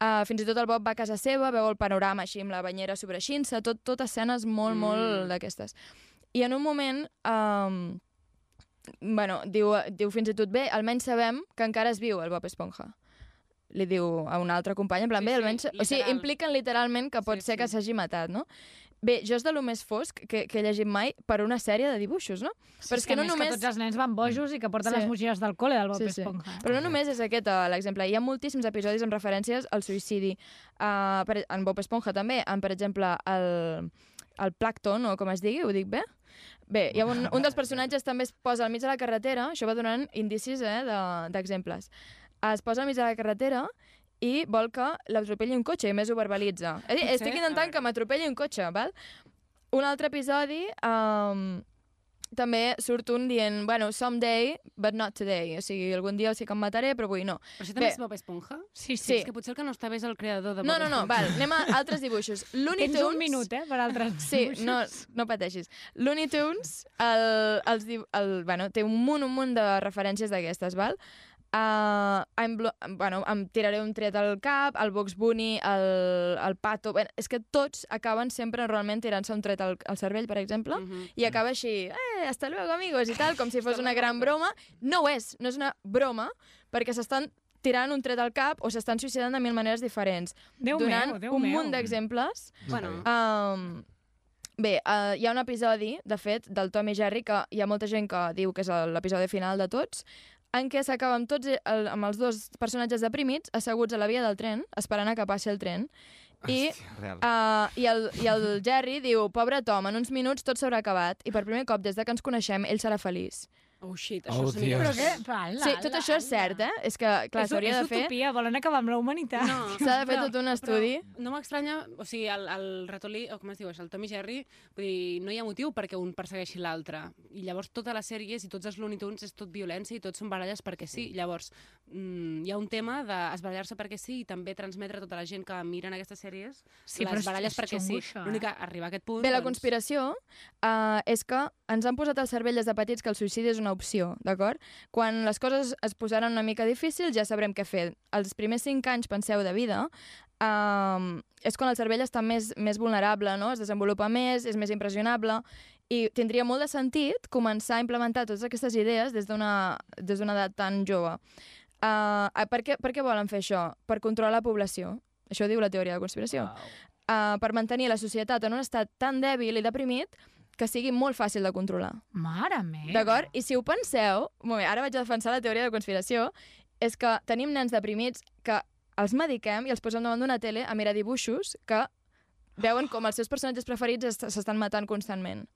S8: Uh, fins i tot el Bob va a casa seva, veu el panorama així amb la banyera sobreixint-se, tot, tot escenes molt, mm. molt d'aquestes. I en un moment... Um, bueno, diu, diu fins i tot bé, almenys sabem que encara es viu el Bob Esponja. Li diu a una altra companya, en plan, sí, bé, almenys... Sí, o sigui,
S7: literal.
S8: impliquen literalment que pot sí, ser que s'hagi matat, no? Bé, jo és de lo més fosc que, que he llegit mai per una sèrie de dibuixos, no?
S7: Sí, és que a més que tots els nens van bojos i que porten les motxilles del col·le del Bob Esponja.
S8: Però no només és aquest eh, l'exemple. Hi ha moltíssims episodis amb referències al suïcidi. Uh, per, en Bob Esponja també, en, per exemple, el, el Plankton, o com es digui, ho dic bé? Bé, hi ha un, un dels personatges també es posa al mig de la carretera, això va donant indicis eh, de- d'exemples. De, es posa al mig de la carretera i vol que l'atropelli un cotxe, i a més ho verbalitza. És a dir,
S7: Potser,
S8: Estic intentant que m'atropelli un cotxe, val? Un altre episodi... Um, també surt un dient, bueno, someday, but not today. O sigui, algun dia sí que em mataré, però avui no.
S9: Però això també és Bob Esponja?
S8: Sí,
S9: Sí,
S8: sí.
S9: és que potser el que no està bé és el creador de Bob
S8: No, no, no,
S9: Esponja.
S8: val, anem a altres dibuixos. Looney
S9: Tens
S8: Tunes...
S9: un minut, eh, per altres
S8: sí,
S9: dibuixos.
S8: no, no pateixis. Looney Tunes el, els, diu- el, bueno, té un munt, un munt de referències d'aquestes, val? Uh, em, blo- bueno, em tiraré un tret al cap, el Box Bunny, el, el Pato... Bueno, és que tots acaben sempre realment tirant-se un tret al, al cervell, per exemple,
S9: Mhm.
S7: Mm.
S8: i acaba així, eh, hasta luego, amigos, i tal, com si fos una gran broma. No ho és, no és una broma, perquè s'estan tirant un tret al cap o s'estan suïcidant de mil maneres diferents.
S7: Déu
S8: donant
S7: meu, Déu
S8: un
S7: meu.
S8: munt d'exemples.
S7: Bueno.
S8: Um, bé, uh, hi ha un episodi, de fet, del Tom i Jerry, que hi ha molta gent que diu que és el- l'episodi final de tots, en què s'acaba amb, tots el, amb els dos personatges deprimits asseguts a la via del tren, esperant a que passi el tren. I,
S2: real.
S8: uh, i, el, I el Jerry diu, pobre Tom, en uns minuts tot s'haurà acabat i per primer cop des de que ens coneixem ell serà feliç.
S9: Oh, shit,
S8: això Oh, és una mica- Dios.
S7: Però què? Pala,
S8: sí, tot això és cert, eh? És que, clar,
S7: És-
S8: s'hauria
S7: és
S8: de fer...
S7: utopia, volen acabar amb la humanitat.
S9: No,
S8: S'ha de fer
S9: però-
S8: tot un
S9: però
S8: estudi.
S9: No m'estranya, o sigui, el, el ratolí, o com es diu, això, el Tom i Jerry, vull dir, no hi ha motiu perquè un persegueixi l'altre. I llavors tota la sèrie i tots els Looney Tunes és tot violència i tots són baralles perquè sí. Llavors, mm, hi ha un tema d'esbarallar-se perquè sí i també transmetre a tota la gent que miren aquestes sèries
S8: Sí, però
S9: les
S8: és-
S9: baralles
S8: és
S9: perquè
S8: xungo,
S9: sí.
S8: això, eh?
S9: L'únic que arribar a aquest punt... doncs,
S8: Bé, la conspiració uh, és que ens han posat al cervell des de petits que el suïcidi és una opció, d'acord? Quan les coses es posaran una mica difícils ja sabrem què fer. Els primers cinc anys, penseu, de vida, um, és quan el cervell està més, més vulnerable, no? es desenvolupa més, és més impressionable, i tindria molt de sentit començar a implementar totes aquestes idees des d'una des d'una edat tan jove. Uh, per, què, per què volen fer això? Per controlar la població. Això ho diu la teoria de la conspiració uh, per mantenir la societat en un estat tan dèbil i deprimit que sigui molt fàcil de controlar.
S7: Mare meva.
S8: D'acord? I si ho penseu, un moment, ara vaig a defensar la teoria de conspiració, és que tenim nens deprimits que els mediquem i els posem davant d'una tele a mirar dibuixos que veuen com els seus personatges preferits est- s'estan matant constantment.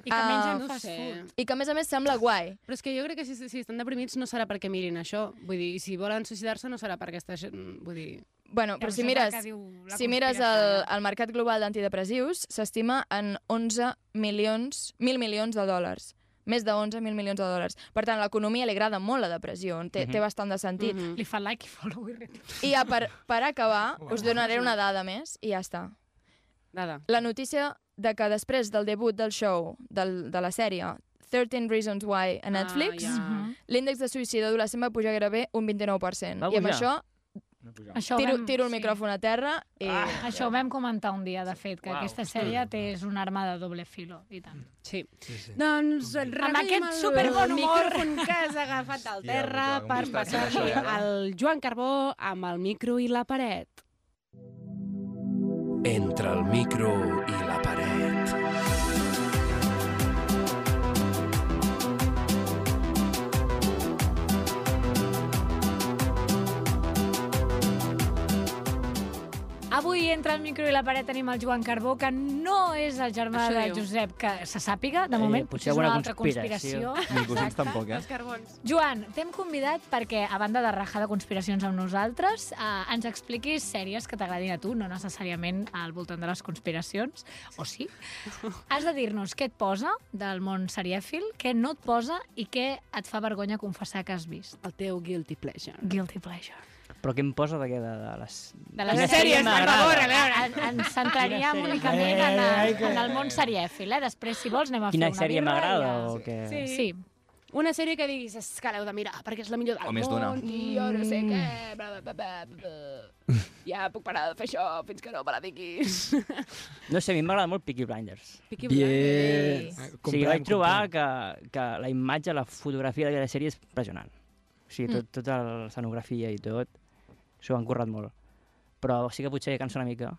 S9: I que mengen
S8: Ah,
S9: fast food.
S8: I que, a més a més, sembla guai.
S9: Però és que jo crec que si, si estan deprimits no serà perquè mirin això. Vull dir, i si volen suïcidar-se no serà perquè està... mm, Vull dir...
S8: Bueno, però si mires, si mires el, el mercat global d'antidepressius, s'estima en 11 milions, 1.000 milions de dòlars. Més de 11.000 milions de dòlars. Per tant, a l'economia li agrada molt la depressió, té,
S7: Mhm.
S8: té bastant de sentit.
S7: Li fa like i follow i retweet.
S8: I ja, per, per acabar, us donaré una dada més i ja està.
S9: Dada.
S8: La notícia de que després del debut del show, del, de la sèrie 13 Reasons Why a Netflix,
S9: Ah,
S7: ja. Mhm.
S8: l'índex de suïcidi adolescent va pujar gairebé un 29%.
S7: Va
S8: I amb
S7: pujar?
S8: això
S7: Això ho
S8: tiro,
S7: vam-
S8: tiro el micròfon a terra i...
S7: Ah, això ho vam comentar un dia, de fet, que
S8: Uau.
S7: aquesta sèrie té, és una arma de doble filo, i tant.
S9: Sí. Doncs
S7: Amb aquest
S9: el
S7: superbon humor.
S9: micròfon que has agafat del
S7: Hòstia,
S9: terra
S7: puta, com
S9: per
S7: està sent
S9: passar-li
S2: eh?
S7: això, ara?
S9: al Joan Carbó amb el micro i la paret.
S11: Entre el micro i la paret.
S7: Avui entre el micro i la paret tenim el Joan Carbó, que no és el germà
S9: Això
S7: de
S9: diu.
S7: Josep, que se sàpiga, de moment,
S12: Eh, potser
S7: potser, és una
S12: alguna
S7: altra conspiració.
S12: conspiració.
S2: Ni cosins tampoc, eh?
S9: carbons.
S7: Joan, t'hem convidat perquè, a banda de rajar de conspiracions amb nosaltres, eh, ens expliquis sèries que t'agradin a tu, no necessàriament al voltant de les conspiracions, o sí. Has de dir-nos què et posa del món serièfil, què no et posa i què et fa vergonya confessar que has vist.
S9: El teu guilty pleasure.
S7: Guilty pleasure.
S12: Però què em posa de què? De, de les...
S7: De les
S12: Quina
S7: sèries, per
S12: m'agrada?
S7: favor, a veure. Eh, En- ens centraríem
S12: Quina
S7: únicament
S12: sèrie?
S7: en el-
S12: Ai, ai, que-
S7: en el món serièfil, eh? Després, si vols, anem a fer
S12: Quina
S7: una
S12: sèrie
S7: birra i
S12: m'agrada
S7: ja-
S12: o què?
S7: Sí.
S9: Una sèrie que diguis, és que l'heu de mirar, perquè és la millor del
S12: O més
S9: món.
S12: d'una.
S9: I jo no sé què, bla, bla, bla, bla, bla. Ja puc parar de fer això fins que no me la diguis.
S12: No sé, a mi m'agrada molt Peaky Blinders.
S9: Peaky
S12: Blinders.
S9: Blinders.
S12: O sigui, vaig trobar que, que la imatge, la fotografia d'aquesta sèrie és impressionant. O sigui, tot, tota l'escenografia i tot, s'ho han currat molt. Però sí que potser cansa una mica.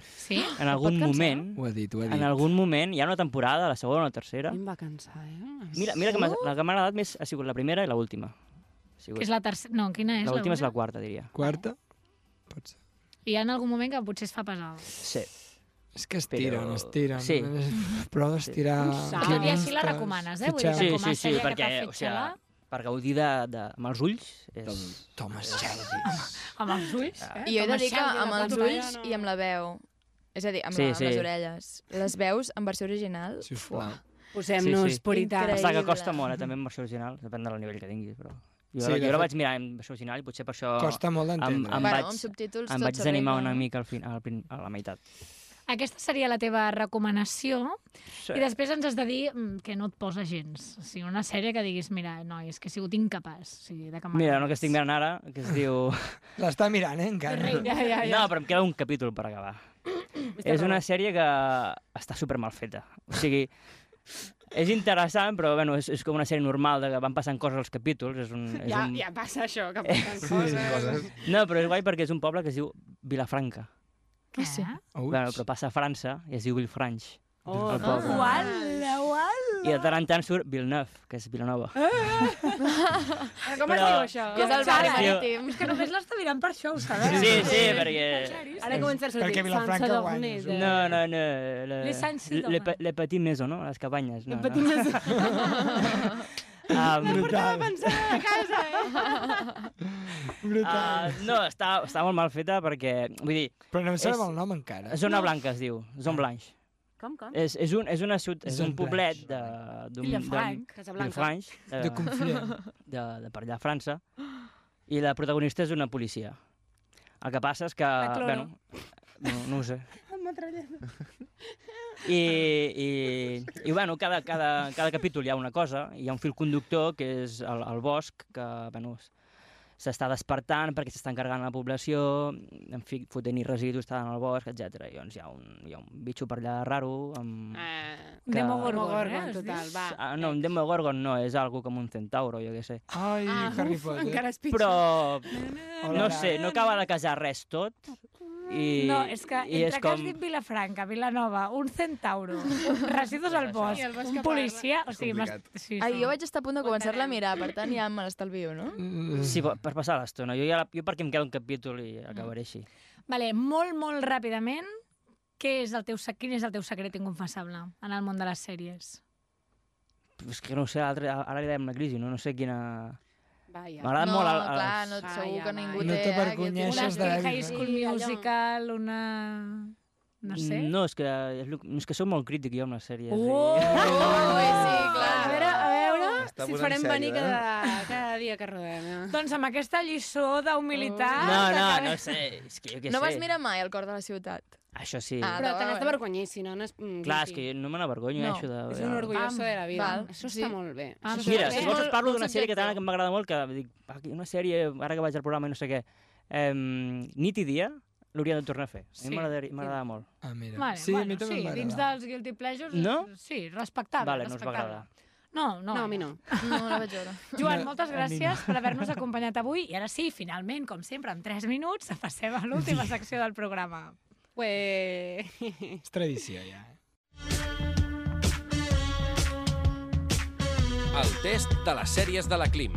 S7: Sí?
S12: En algun moment... Ho ha dit, ho ha dit. En algun moment, hi ha una temporada, la segona o la tercera.
S9: A mi em va cansar, eh?
S12: Mira, mira que m'ha- la que m'ha agradat més ha sigut la primera i l'última. Ha sigut-
S7: Que és la tercera... No, quina és? la
S12: L'última és
S7: una?
S12: la quarta, diria. Quarta?
S7: Hi ha en algun moment que potser es fa pesada.
S12: Sí.
S10: És que estiren,
S12: Però-
S10: estiren.
S12: Sí. Eh,
S10: Però d'estirar...
S7: Tot i així la recomanes, eh? Vull dir,
S12: Sí,
S7: que com a
S12: sí, sí,
S7: sèrie que
S12: perquè,
S7: t'ha fet
S12: o sigui,
S7: xalar,
S12: per gaudir de, de, amb els ulls... És... Thomas Shelby.
S7: amb els ulls...
S12: Ah.
S7: Eh?
S8: I jo he de
S7: Com
S8: dir que
S7: Sheldon,
S8: amb
S7: la
S8: els
S7: pantalla,
S8: ulls i amb la veu. És a dir, amb,
S12: Sí,
S8: la, amb
S12: sí.
S8: les orelles. Les veus en versió original...
S12: Sisplau.
S8: uah,
S9: Posem-nos puritanes.
S12: Passa que costa
S9: Increïble.
S12: molt, eh, també amb versió original, depèn del nivell que tinguis, però... Jo, sí,
S10: Sí, de
S12: jo la
S10: fet-
S12: vaig mirar en versió original i potser per això...
S10: Costa molt
S12: em,
S10: d'entendre.
S12: em
S10: Bueno,
S12: vaig,
S10: amb subtítols
S12: em
S10: tot eh?
S12: vaig desanimar
S10: s'arregla,
S12: una
S10: no?
S12: mica al fin, al, prin- a la meitat.
S7: Aquesta seria la teva recomanació.
S12: Sí.
S7: I després ens has de dir mm, que no et posa gens. O sigui, una sèrie que diguis, mira, noi, és que he sigut incapaç. O sigui, de que
S12: Mira, no, que estic mirant ara, que es diu...
S10: L'està mirant, eh, encara.
S7: Ja, ja, ja.
S12: No, però em queda un capítol per acabar. és una sèrie que està super mal feta. O sigui, és interessant, però bueno, és, és com una sèrie normal, de que van passant coses als capítols. És un, és
S9: Ja,
S12: un... Eh.
S9: ja passa això, que passen coses.
S12: No, però és guai perquè és un poble que es diu Vilafranca.
S7: Què? Sí.
S9: Eh,
S12: Bueno, però passa a França i es diu Vilfranche.
S9: Oh,
S12: el poble.
S7: Uala, uala.
S12: I de tant en tant surt Villeneuve, que és Vilanova.
S7: Com
S12: es Però- diu això?
S7: Que és el barri
S12: Diu-
S7: marítim. És que només l'està mirant per això, ho sabeu?
S12: Sí, sí, sí, perquè...
S9: Ara comença a sortir Perquè Vilafranca Sansa guanya. Dognes, eh?
S12: No, no, no. Le,
S9: Les Sansa
S12: le,
S9: Dognes.
S12: pe- le petit maison, no? Les cabanyes. No,
S9: No
S12: no.
S9: patim més.
S12: Um,
S9: Portava pensant a casa, eh? Ah,
S12: Uh, no, està, està molt mal feta perquè, vull dir...
S10: Però no em sabem
S12: és-
S10: el nom encara.
S12: Zona Blanca es diu, Zona
S9: Ah.
S12: Blanche.
S9: Com, com?
S12: És, és, un, és, una ciut, és
S10: Zona
S12: un poblet de... d'un-
S9: Villafranca.
S12: d'un-
S9: Casablanca.
S12: Villafranche, de,
S10: De Conflent.
S12: de, de per allà a França. I la protagonista és una policia. El que passa és que...
S9: La Cloro.
S12: Bueno, no, no ho sé.
S9: Amb metralleta.
S12: I, i, i bueno, cada, cada, cada capítol hi ha una cosa, hi ha un fil conductor que és el, el bosc, que bueno, s- s'està despertant perquè s'està encarregant la població, en fi, fotent i residus està en el bosc, etc. I llavors hi ha un, hi ha un bitxo per allà raro amb...
S9: Ah, Demogorgon, Demogorgon, eh, es total, diu? va.
S12: Ah, no, un Demogorgon no, és algo com un centauro, jo què sé.
S10: Ai, Ah, Harry uf, Potter. encara és pitjor.
S12: Però,
S10: Hola.
S12: no sé, no acaba de casar res tot.
S9: Ah.
S12: I,
S7: No, és que
S12: i
S7: entre
S12: és
S7: que has
S12: com...
S7: dit Vilafranca, Vilanova, un centauro, residus al bosc,
S8: I el bosc
S7: un
S8: que
S7: policia...
S8: parla.
S7: O sigui, m'has- sí,
S8: Ai,
S7: sí.
S8: jo vaig estar a punt de començar-la a mirar, per tant ja me l'estalvio, no?
S12: Sí, per, per passar l'estona. Jo, ja, jo perquè em queda un capítol i acabaré així.
S7: Vale, molt, molt ràpidament, què és el teu, se- quin és el teu secret inconfessable en el món de les sèries?
S12: Però És que no ho sé, altre, ara li dèiem la crisi, no, no sé quina...
S9: Vaya.
S12: M'agrada
S8: no,
S12: molt el- el-
S8: clar, no, segur que ningú
S12: No
S8: té...
S12: t'avergonyeixes
S7: de...
S12: de-
S7: High School Musical, una... No sé.
S12: No, és que, eh, és, lo- és que sóc molt crític jo amb les sèries.
S7: Oh!
S9: A veure, a veure
S12: Està
S9: si
S12: posant
S9: farem
S12: sèrio,
S9: venir
S12: eh?
S9: cada, cada dia que rodem. Eh?
S7: Doncs amb aquesta lliçó d'humilitat...
S12: No, no, no sé, és que jo què
S8: No
S12: sé.
S8: vas mirar mai el cor de la ciutat.
S12: Això sí.
S8: Ah,
S9: Però
S8: no,
S9: te
S8: a
S9: n'has
S8: veure.
S9: d'avergonyir, si no, no és... mm,
S12: Clar, és
S9: guilty.
S12: que jo no me n'avergonyo, eh,
S9: No,
S12: això de...
S9: és un orgulloso de la vida.
S8: Val.
S9: Això està molt bé.
S8: Ah,
S9: Això
S12: Mira,
S9: està
S12: si
S9: bé.
S12: vols et parlo d'una sèrie
S9: subjectiu.
S12: catalana que m'agrada molt, que dic, "Ah, aquí una sèrie, ara que vaig al programa i no sé què, eh, nit i dia, l'hauria de tornar a fer. A
S7: Sí.
S12: mi m'agradaria- m'agradava molt.
S10: Ah, mira.
S7: Vale,
S10: sí, a mi
S7: bueno,
S10: també
S7: sí,
S10: m'agrada.
S7: dins dels guilty pleasures...
S12: No?
S7: Sí, respectable,
S12: Vale, no us va
S7: respectable.
S12: agradar.
S7: No, no.
S9: No, a mi no.
S7: No la vaig veure. Joan,
S12: No,
S7: moltes
S12: a mi
S7: gràcies
S12: no.
S7: per haver-nos acompanyat avui. I ara sí, finalment, com sempre, en 3 minuts, passem a l'última secció del programa.
S9: Ué.
S10: És tradició, ja. eh.
S11: El test de les sèries de la Clim.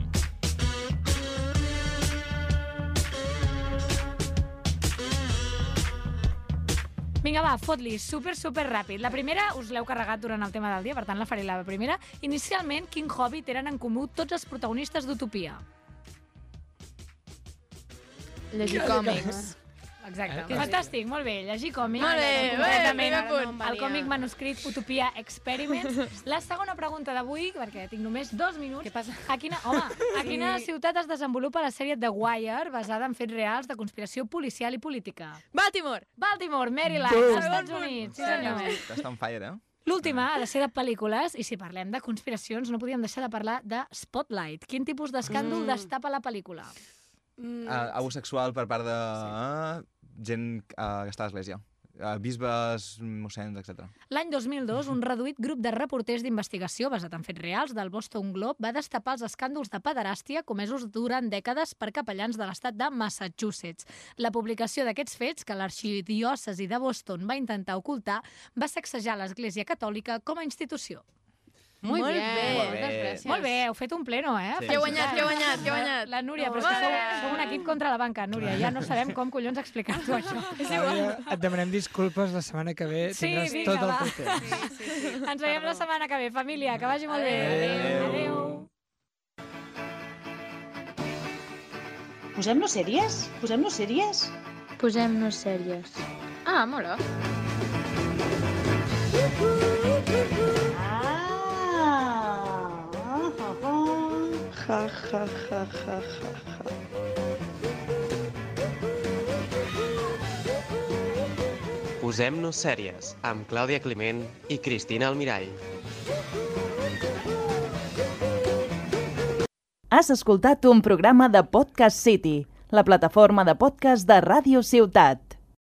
S7: Vinga, va, fot-li, super, super ràpid. La primera us l'heu carregat durant el tema del dia, per tant la faré la primera. Inicialment, quin hobby tenen en comú tots els protagonistes d'Utopia?
S8: Llegir
S7: Clar,
S8: còmics.
S7: Exacte.
S8: Què
S7: Fantàstic, molt bé. Llegir còmics.
S8: Molt bé,
S7: Ara,
S8: bé,
S7: concretament,
S8: primer punt.
S7: el còmic manuscrit Utopia Experiments. La segona pregunta d'avui, perquè tinc només dos minuts. Què passa? A quina, home, a
S9: Sí.
S7: quina ciutat es desenvolupa la sèrie The Wire, basada en fets reals de conspiració policial i política?
S8: Baltimore!
S7: Baltimore, Maryland,
S2: Bum.
S7: als Estats Units. Sí, senyor.
S2: Està en fire, eh?
S7: L'última ha de ser de pel·lícules, i si parlem de conspiracions no podíem deixar de parlar de Spotlight. Quin tipus d'escàndol
S9: Mm.
S7: destapa la pel·lícula?
S9: Mm.
S12: Ah,
S2: Uh, abús sexual per part de sí. gent uh, que està a l'església. Uh, bisbes, mossens, etc.
S7: L'any 2002, un reduït grup de reporters d'investigació basat en fets reals del Boston Globe va destapar els escàndols de pederàstia comesos durant dècades per capellans de l'estat de Massachusetts. La publicació d'aquests fets, que l'arxidiòcesi de Boston va intentar ocultar, va sacsejar l'Església Catòlica com a institució.
S9: Muy
S7: Molt
S9: bien.
S7: bé.
S9: Molt bé. Moltes gràcies.
S7: Molt bé, heu fet un pleno, eh?
S9: Sí. Qui ha guanyat, qui ha guanyat, qui ha guanyat?
S7: La Núria, però és
S9: Molt
S7: que sou,
S9: bé.
S7: sou un equip contra la banca, Núria. Ja no sabem com collons explicar-ho, això.
S10: Clàudia, et demanem disculpes la setmana que ve.
S7: Sí,
S10: Tindràs
S7: vinga,
S10: tot el
S7: va.
S10: teu temps.
S7: Ens veiem la setmana que ve, família. Que vagi molt bé. Adéu. Adéu.
S17: Posem-nos sèries? Posem-nos sèries? Posem-nos sèries.
S3: Ah, mola.
S17: Ah!
S1: Ah.
S18: ja, ja, ja, ja.
S10: Posem-nos sèries amb Clàudia Climent i Cristina Almirall.
S1: Has escoltat un programa de Podcast City, la plataforma de podcast de Ràdio Ciutat.